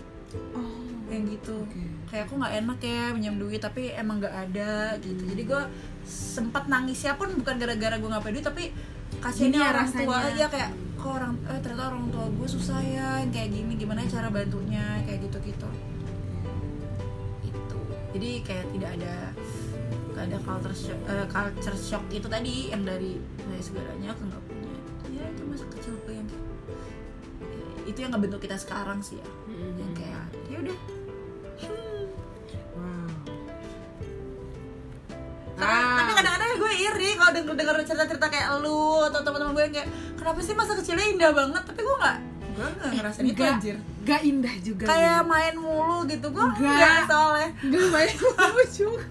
Speaker 2: oh
Speaker 1: yang gitu kayak aku nggak enak ya minjem duit tapi emang nggak ada gitu jadi gue sempat nangisnya pun bukan gara-gara gue nggak punya duit tapi
Speaker 2: Gini
Speaker 1: kasihannya
Speaker 2: ya
Speaker 1: orang tua
Speaker 2: rasanya.
Speaker 1: aja kayak kok orang eh ternyata orang tua gue susah ya yang kayak gini gimana cara bantunya kayak gitu gitu itu jadi kayak tidak ada nggak ada culture shock, eh, culture shock itu tadi yang dari dari segalanya ke nggak punya ya itu masa kecil gue yang kayak- ya, itu yang ngebentuk kita sekarang sih ya yang kayak ya udah Tapi-
Speaker 2: Nah. Ah.
Speaker 1: kan tapi kadang-kadang gue iri kalau denger denger cerita-cerita kayak lu atau teman-teman gue yang kayak kenapa sih masa kecilnya indah banget tapi gue nggak gue nggak ngerasain itu
Speaker 2: Enggak,
Speaker 1: anjir
Speaker 2: enggak indah juga
Speaker 1: kayak main mulu gitu gue
Speaker 2: Enggak. Gitu
Speaker 1: enggak soalnya
Speaker 2: Gak banyak kamu juga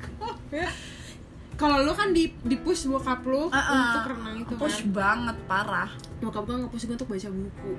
Speaker 2: Bel. Kalau lu kan di, di push bokap lu
Speaker 1: Uh-uh.
Speaker 2: untuk renang itu
Speaker 1: push
Speaker 2: kan
Speaker 1: banget parah
Speaker 2: Bokap gue nge-push gue untuk baca buku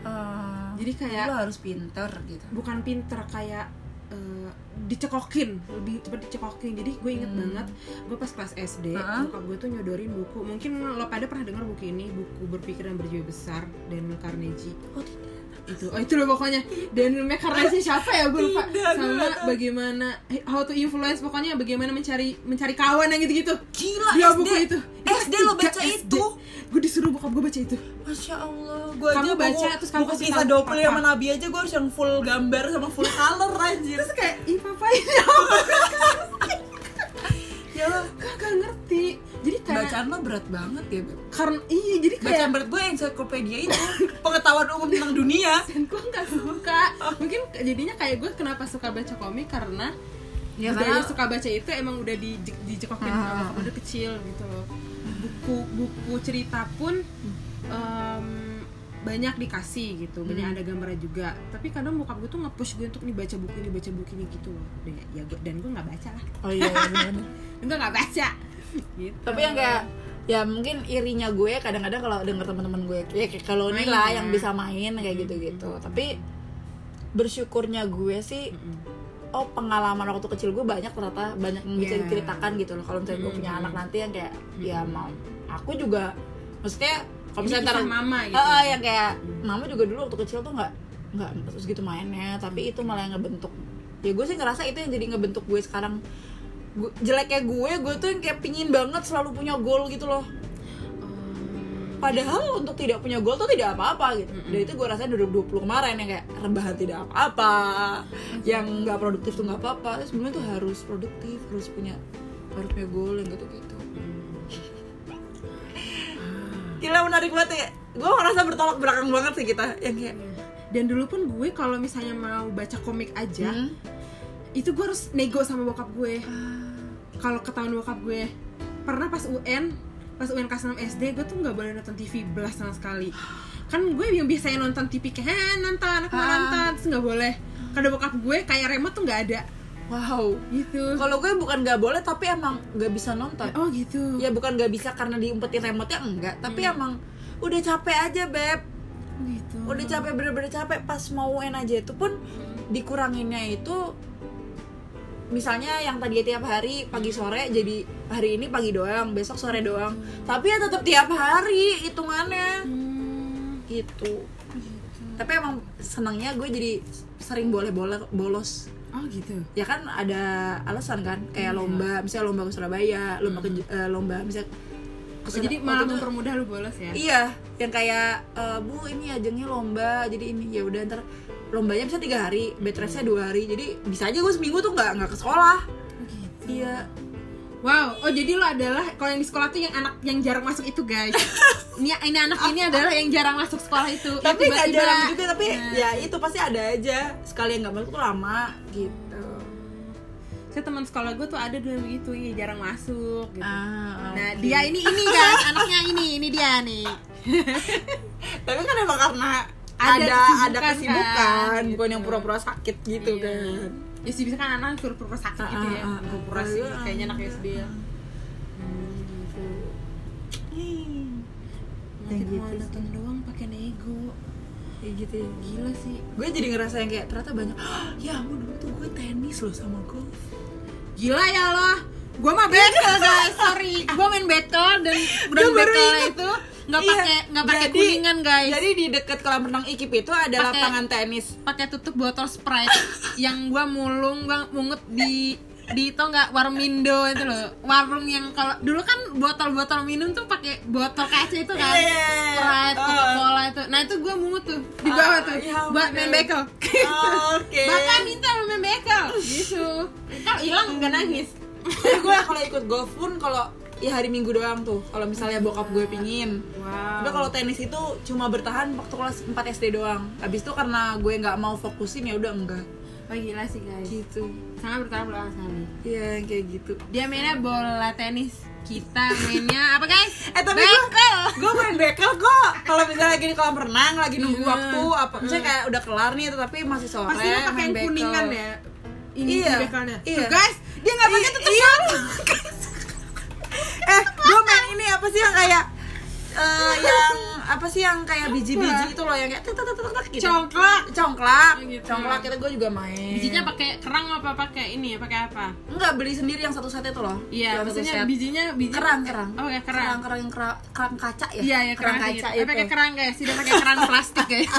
Speaker 1: Eh,
Speaker 2: Jadi kayak
Speaker 1: lu harus pinter gitu
Speaker 2: bukan pinter kayak eh, dicekokin lebih cepat dicekokin jadi gue inget
Speaker 1: Hmm. Ah,
Speaker 2: banget gue pas kelas SD
Speaker 1: Hah?
Speaker 2: bokap gue tuh nyodorin buku mungkin lo pada pernah dengar buku ini buku berpikir dan berjiwa besar Daniel Carnegie
Speaker 1: Oh, tidak.
Speaker 2: itu oh itu loh pokoknya Daniel McCartney siapa ya gue lupa
Speaker 1: Tidak, gue
Speaker 2: sama
Speaker 1: nggak tahu.
Speaker 2: bagaimana eh, how to influence pokoknya bagaimana mencari mencari kawan yang gitu-gitu
Speaker 1: Gila SD.
Speaker 2: Dua Iya, buku itu Iya,
Speaker 1: SD Eh, lo baca itu.
Speaker 2: gue disuruh bokap gue baca itu
Speaker 1: Masya Allah. Gua aja
Speaker 2: Kamu baca,
Speaker 1: buku-
Speaker 2: terus kamu
Speaker 1: buku
Speaker 2: kasih
Speaker 1: kisah
Speaker 2: tahu
Speaker 1: Dopel
Speaker 2: papa.
Speaker 1: sama Nabi aja gue harus yang full gambar sama full color anjir.
Speaker 2: terus kayak ih papa ini apa
Speaker 1: ya Allah.
Speaker 2: Gak- gak ngerti jadi karena
Speaker 1: Bacaan lo berat banget ya. Beb.
Speaker 2: karena iya jadi kayak
Speaker 1: Bacaan berat gue ensiklopedia itu. Pengetahuan umum tentang dunia.
Speaker 2: dan gue nggak suka mungkin jadinya kayak gue kenapa suka baca komik karena
Speaker 1: Ya,
Speaker 2: budaya
Speaker 1: karena-
Speaker 2: suka baca itu emang udah di dicekokin
Speaker 1: Ah.
Speaker 2: sama waktu kecil gitu loh buku buku cerita pun em, banyak dikasih gitu banyak
Speaker 1: Hmm.
Speaker 2: ada gambarnya juga tapi kadang bokap gue tuh nge-push gue untuk nih baca buku ini baca buku ini gitu loh dan, ya gue dan gue nggak baca lah
Speaker 1: Oh iya. iya, bener.
Speaker 2: gue nggak baca gitu
Speaker 1: Tapi yang kayak ya mungkin irinya gue kadang-kadang kalau denger teman-teman gue ya kayak kalau
Speaker 2: Main
Speaker 1: Nila
Speaker 2: ya.
Speaker 1: yang bisa main kayak gitu-gitu. Tapi bersyukurnya gue sih oh pengalaman waktu kecil gue banyak ternyata banyak yang bisa
Speaker 2: Yeah.
Speaker 1: diceritakan gitu loh kalau misalnya gue punya
Speaker 2: Mm.
Speaker 1: anak nanti yang kayak ya mau aku juga maksudnya kalau
Speaker 2: Ini
Speaker 1: misalnya ntar
Speaker 2: kisah mama gitu
Speaker 1: Eh, eh, yang kayak mama juga dulu waktu kecil tuh nggak nggak terus gitu mainnya tapi itu malah yang ngebentuk ya gue sih ngerasa itu yang jadi ngebentuk gue sekarang Gu- jeleknya gue gue tuh yang kayak pingin banget selalu punya goal gitu loh
Speaker 2: Em,
Speaker 1: padahal untuk tidak punya goal tuh tidak apa-apa gitu dan itu gue rasain dari 20 kemarin yang kayak rebahan tidak apa-apa yang nggak produktif tuh nggak apa-apa Terus sebenarnya tuh harus produktif harus punya harus punya goal yang gitu-gitu gila menarik banget ya gue merasa bertolak belakang banget sih kita yang kayak
Speaker 2: dan dulu pun gue kalau misalnya mau baca komik aja
Speaker 1: Hmm.
Speaker 2: itu gue harus nego sama bokap gue kalau ketahuan bokap gue pernah pas UN pas UN kelas 6 SD gue tuh nggak boleh nonton TV belas sama sekali kan gue yang biasanya nonton TV kayak "Eh, nonton aku mau
Speaker 1: Ah.
Speaker 2: nonton terus nggak boleh karena bokap gue kayak remote tuh nggak ada
Speaker 1: wow
Speaker 2: gitu
Speaker 1: kalau gue bukan nggak boleh tapi emang nggak bisa nonton
Speaker 2: oh gitu
Speaker 1: ya bukan nggak bisa karena diumpetin remote nya enggak tapi emang udah capek aja beb
Speaker 2: gitu
Speaker 1: udah capek bener-bener capek pas mau UN aja itu pun dikuranginnya itu misalnya yang tadi tiap hari pagi sore jadi hari ini pagi doang besok sore doang tapi ya tetap tiap hari hitungannya
Speaker 2: Hmm,
Speaker 1: gitu
Speaker 2: gitu.
Speaker 1: tapi emang senangnya gue jadi sering boleh bola- bolos
Speaker 2: oh gitu
Speaker 1: ya kan ada alasan kan
Speaker 2: Iya.
Speaker 1: kayak lomba misalnya lomba ke Surabaya lomba ke eh, lomba misalnya ke
Speaker 2: Hmm. Oh,
Speaker 1: Sura-
Speaker 2: jadi malah
Speaker 1: waktu itu-
Speaker 2: mempermudah lu bolos ya
Speaker 1: Iya, yang kayak eh, Bu ini ajengnya lomba, jadi ini ya udah ntar lombanya bisa tiga hari, bed restnya dua hari, jadi bisa aja gue seminggu tuh nggak nggak ke sekolah.
Speaker 2: Oh, gitu
Speaker 1: Iya,
Speaker 2: Wow, oh jadi lo adalah kalau yang di sekolah tuh yang anak yang jarang masuk itu guys. ini ini anak ini adalah yang jarang masuk sekolah itu. Yang
Speaker 1: tapi nggak
Speaker 2: tiba-tiba-
Speaker 1: jarang juga, tapi
Speaker 2: Nah.
Speaker 1: ya itu pasti ada aja. Sekali yang nggak masuk tuh lama gitu.
Speaker 2: Saya teman sekolah gue tuh ada dua yang begitu ya jarang masuk. Gitu.
Speaker 1: Ah,
Speaker 2: nah
Speaker 1: oke.
Speaker 2: dia ini ini kan anaknya ini ini dia nih.
Speaker 1: tapi kan emang karena
Speaker 2: Ada
Speaker 1: ada ada kesibukan,
Speaker 2: kesibukan kan, gitu.
Speaker 1: bukan yang pura-pura sakit gitu
Speaker 2: Iya.
Speaker 1: kan
Speaker 2: ya sih bisa kan anak pura-pura sakit gitu ya
Speaker 1: Ah, ah, ah,
Speaker 2: pura-pura
Speaker 1: pura-pura
Speaker 2: sih
Speaker 1: doang.
Speaker 2: kayaknya anak SD ya Hmm, gitu.
Speaker 1: Ya
Speaker 2: makin
Speaker 1: gitu
Speaker 2: monoton doang pakai nego
Speaker 1: kayak gitu ya
Speaker 2: gila sih
Speaker 1: gue jadi ngerasa yang kayak ternyata banyak "Ah, ya ampun dulu tuh gue tenis loh sama golf
Speaker 2: gila ya lo gue mah bekel guys sorry gue main bekel dan dan
Speaker 1: Iya. Gua baru
Speaker 2: bekel
Speaker 1: inget.
Speaker 2: itu nggak
Speaker 1: Iya.
Speaker 2: pakai nggak pakai
Speaker 1: Jadi-
Speaker 2: kuningan guys
Speaker 1: jadi di deket kolam renang ikip itu ada
Speaker 2: Pakai-
Speaker 1: lapangan tenis
Speaker 2: pakai tutup botol sprite yang gua mulung gua mungut di di itu nggak warung Indo itu loh warung yang kalau dulu kan botol-botol minum tuh pakai botol kaca itu kan
Speaker 1: Iya.
Speaker 2: sprite
Speaker 1: Oh.
Speaker 2: coca cola itu nah itu gua mungut tuh di
Speaker 1: Ah,
Speaker 2: bawah tuh
Speaker 1: ya
Speaker 2: buat
Speaker 1: ampun.
Speaker 2: main bekel
Speaker 1: oke
Speaker 2: bapak minta lu main bekel gitu kalau hilang nggak nangis
Speaker 1: gue kalau ikut golf pun kalau ya hari minggu doang tuh kalau misalnya bokap gue pingin
Speaker 2: wow
Speaker 1: Tapi kalau tenis itu cuma bertahan waktu kelas 4 SD doang. Abis itu karena gue nggak mau fokusin ya udah enggak.
Speaker 2: oh, gila sih guys
Speaker 1: Gitu.
Speaker 2: sangat bertambah belakang sekali
Speaker 1: Iya kayak gitu.
Speaker 2: dia mainnya bola tenis kita mainnya apa guys
Speaker 1: Eh, tapi gua-
Speaker 2: bekel
Speaker 1: Gue main bekel kok. Kalau misalnya lagi di kolam renang lagi nunggu
Speaker 2: Iya.
Speaker 1: waktu apa misalnya kayak udah kelar nih tapi masih sore.
Speaker 2: pasti lu pakai
Speaker 1: main
Speaker 2: yang
Speaker 1: bekel.
Speaker 2: kuningan ya ini
Speaker 1: Iya.
Speaker 2: di bekalnya
Speaker 1: Iya.
Speaker 2: Tuh, guys dia nggak pakai tutup
Speaker 1: Iya. eh, gue main ini apa sih yang kayak eh, yang apa sih yang kayak biji-biji itu loh yang kayak tek tek tek tek tek gitu.
Speaker 2: congklak
Speaker 1: Congklak.
Speaker 2: Gitu.
Speaker 1: Congklak itu gue juga main.
Speaker 2: bijinya pakai kerang apa pakai ini ya pakai apa
Speaker 1: Enggak beli sendiri yang satu set itu loh. Yang
Speaker 2: iya
Speaker 1: satu
Speaker 2: maksudnya
Speaker 1: set.
Speaker 2: bijinya biji
Speaker 1: kerang kerang.
Speaker 2: oh pakai kerang
Speaker 1: kerang kerang yang kerang, kerang kaca ya.
Speaker 2: iya ya kerang,
Speaker 1: kaca
Speaker 2: Eh, pakai
Speaker 1: itu.
Speaker 2: kerang guys tidak pakai kerang plastik guys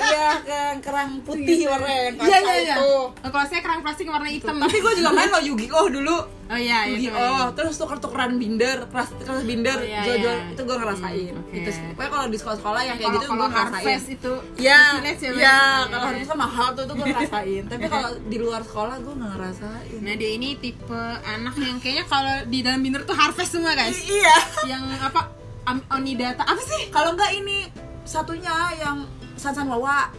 Speaker 1: Iya
Speaker 2: kan,
Speaker 1: kerang kerang putih warnanya yang kaca
Speaker 2: iya iya iya
Speaker 1: itu.
Speaker 2: Oh, kalau saya kerang plastik warna hitam
Speaker 1: Tapi gue juga main lo Yugi oh dulu.
Speaker 2: oh iya
Speaker 1: Yugi
Speaker 2: itu
Speaker 1: oh terus tuker tukeran binder kelas kelas binder
Speaker 2: Oh, iya,
Speaker 1: jual jual
Speaker 2: iya.
Speaker 1: itu gue ngerasain.
Speaker 2: Hmm, oke.
Speaker 1: Itu sih. Pokoknya kalau di sekolah sekolah yang kayak
Speaker 2: kalau
Speaker 1: gitu
Speaker 2: kalau
Speaker 1: gue ngerasain.
Speaker 2: harvest itu
Speaker 1: Iya,
Speaker 2: di village ya,
Speaker 1: iya,
Speaker 2: Bang?
Speaker 1: kalau harusnya mahal tuh itu gue ngerasain. Tapi kalau di luar sekolah gue nggak ngerasain.
Speaker 2: Nah dia ini tipe anak yang kayaknya kalau di dalam binder tuh harvest semua guys
Speaker 1: Iya.
Speaker 2: yang apa am- onidata apa sih
Speaker 1: Kalau nggak ini satunya yang Sansan Wawa.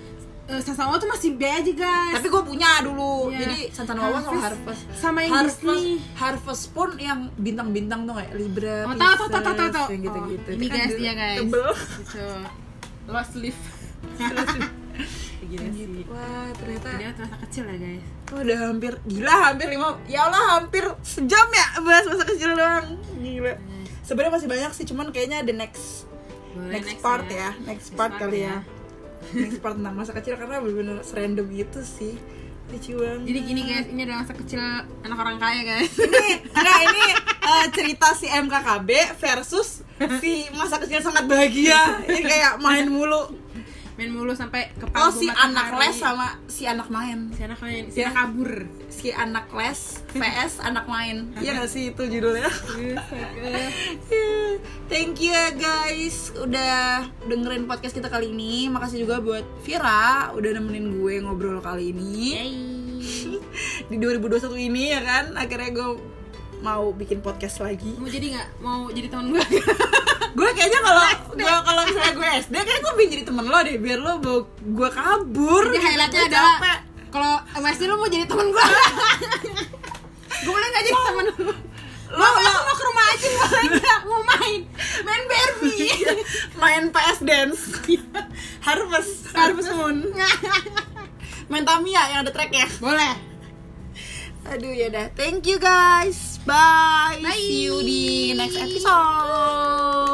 Speaker 2: Eh, Sasawa tuh masih B aja guys
Speaker 1: Tapi gue punya dulu.
Speaker 2: Iya.
Speaker 1: Jadi Sansan Wawa sama Harvest.
Speaker 2: sama yang
Speaker 1: Harvest,
Speaker 2: Disney
Speaker 1: Harvest pun yang bintang-bintang tuh kayak Libra,
Speaker 2: oh tau tau tau tau tau tau
Speaker 1: yang gitu-gitu.
Speaker 2: Oh, ini
Speaker 1: Kan
Speaker 2: guys
Speaker 1: dulu
Speaker 2: dia guys
Speaker 1: Tebel. Iya
Speaker 2: gitu lost leaf Gila sih
Speaker 1: Wah, ternyata
Speaker 2: dia gitu. waktu masa kecil ya guys
Speaker 1: itu udah hampir gila, hampir lima. Ya Allah, hampir sejam ya bahas masa kecil doang.
Speaker 2: Iya.
Speaker 1: Gila. Sebenarnya masih banyak sih, cuman kayaknya the next
Speaker 2: Boleh
Speaker 1: next, part ya. next part
Speaker 2: part
Speaker 1: kali
Speaker 2: ya.
Speaker 1: ya. next part tentang masa kecil karena bener-bener serandom gitu sih. Lucu banget.
Speaker 2: jadi gini guys ini adalah masa kecil anak orang kaya guys
Speaker 1: ini nah ini eh, cerita si MKKB versus si masa kecil sangat bahagia ini kayak main mulu
Speaker 2: main mulu sampai
Speaker 1: oh
Speaker 2: ke panggung
Speaker 1: si
Speaker 2: matahari.
Speaker 1: anak les sama si anak main
Speaker 2: si anak main si
Speaker 1: Iya.
Speaker 2: anak kabur
Speaker 1: si anak les vs anak main iya gak sih itu judulnya Thank you ya guys udah dengerin podcast kita kali ini. Makasih juga buat Vira udah nemenin gue ngobrol kali ini.
Speaker 2: Yay.
Speaker 1: Di 2021 ini ya kan akhirnya gue mau bikin podcast lagi.
Speaker 2: mau jadi nggak mau jadi teman gue
Speaker 1: gue kayaknya kalau gua kalau misalnya gue SD kayak gue pengen jadi temen lo deh biar lo bawa gue kabur
Speaker 2: Jadi highlightnya
Speaker 1: Gua
Speaker 2: adalah
Speaker 1: capek.
Speaker 2: kalau masih lu mau jadi temen gue gue boleh nggak jadi temen lu
Speaker 1: lo lo
Speaker 2: mau ke rumah aja boleh nggak mau main main Barbie
Speaker 1: Iya, main PS dance harvest harvest moon main Tamiya yang ada tracknya
Speaker 2: boleh
Speaker 1: aduh ya dah thank you guys bye,
Speaker 2: Bye.
Speaker 1: see you di next episode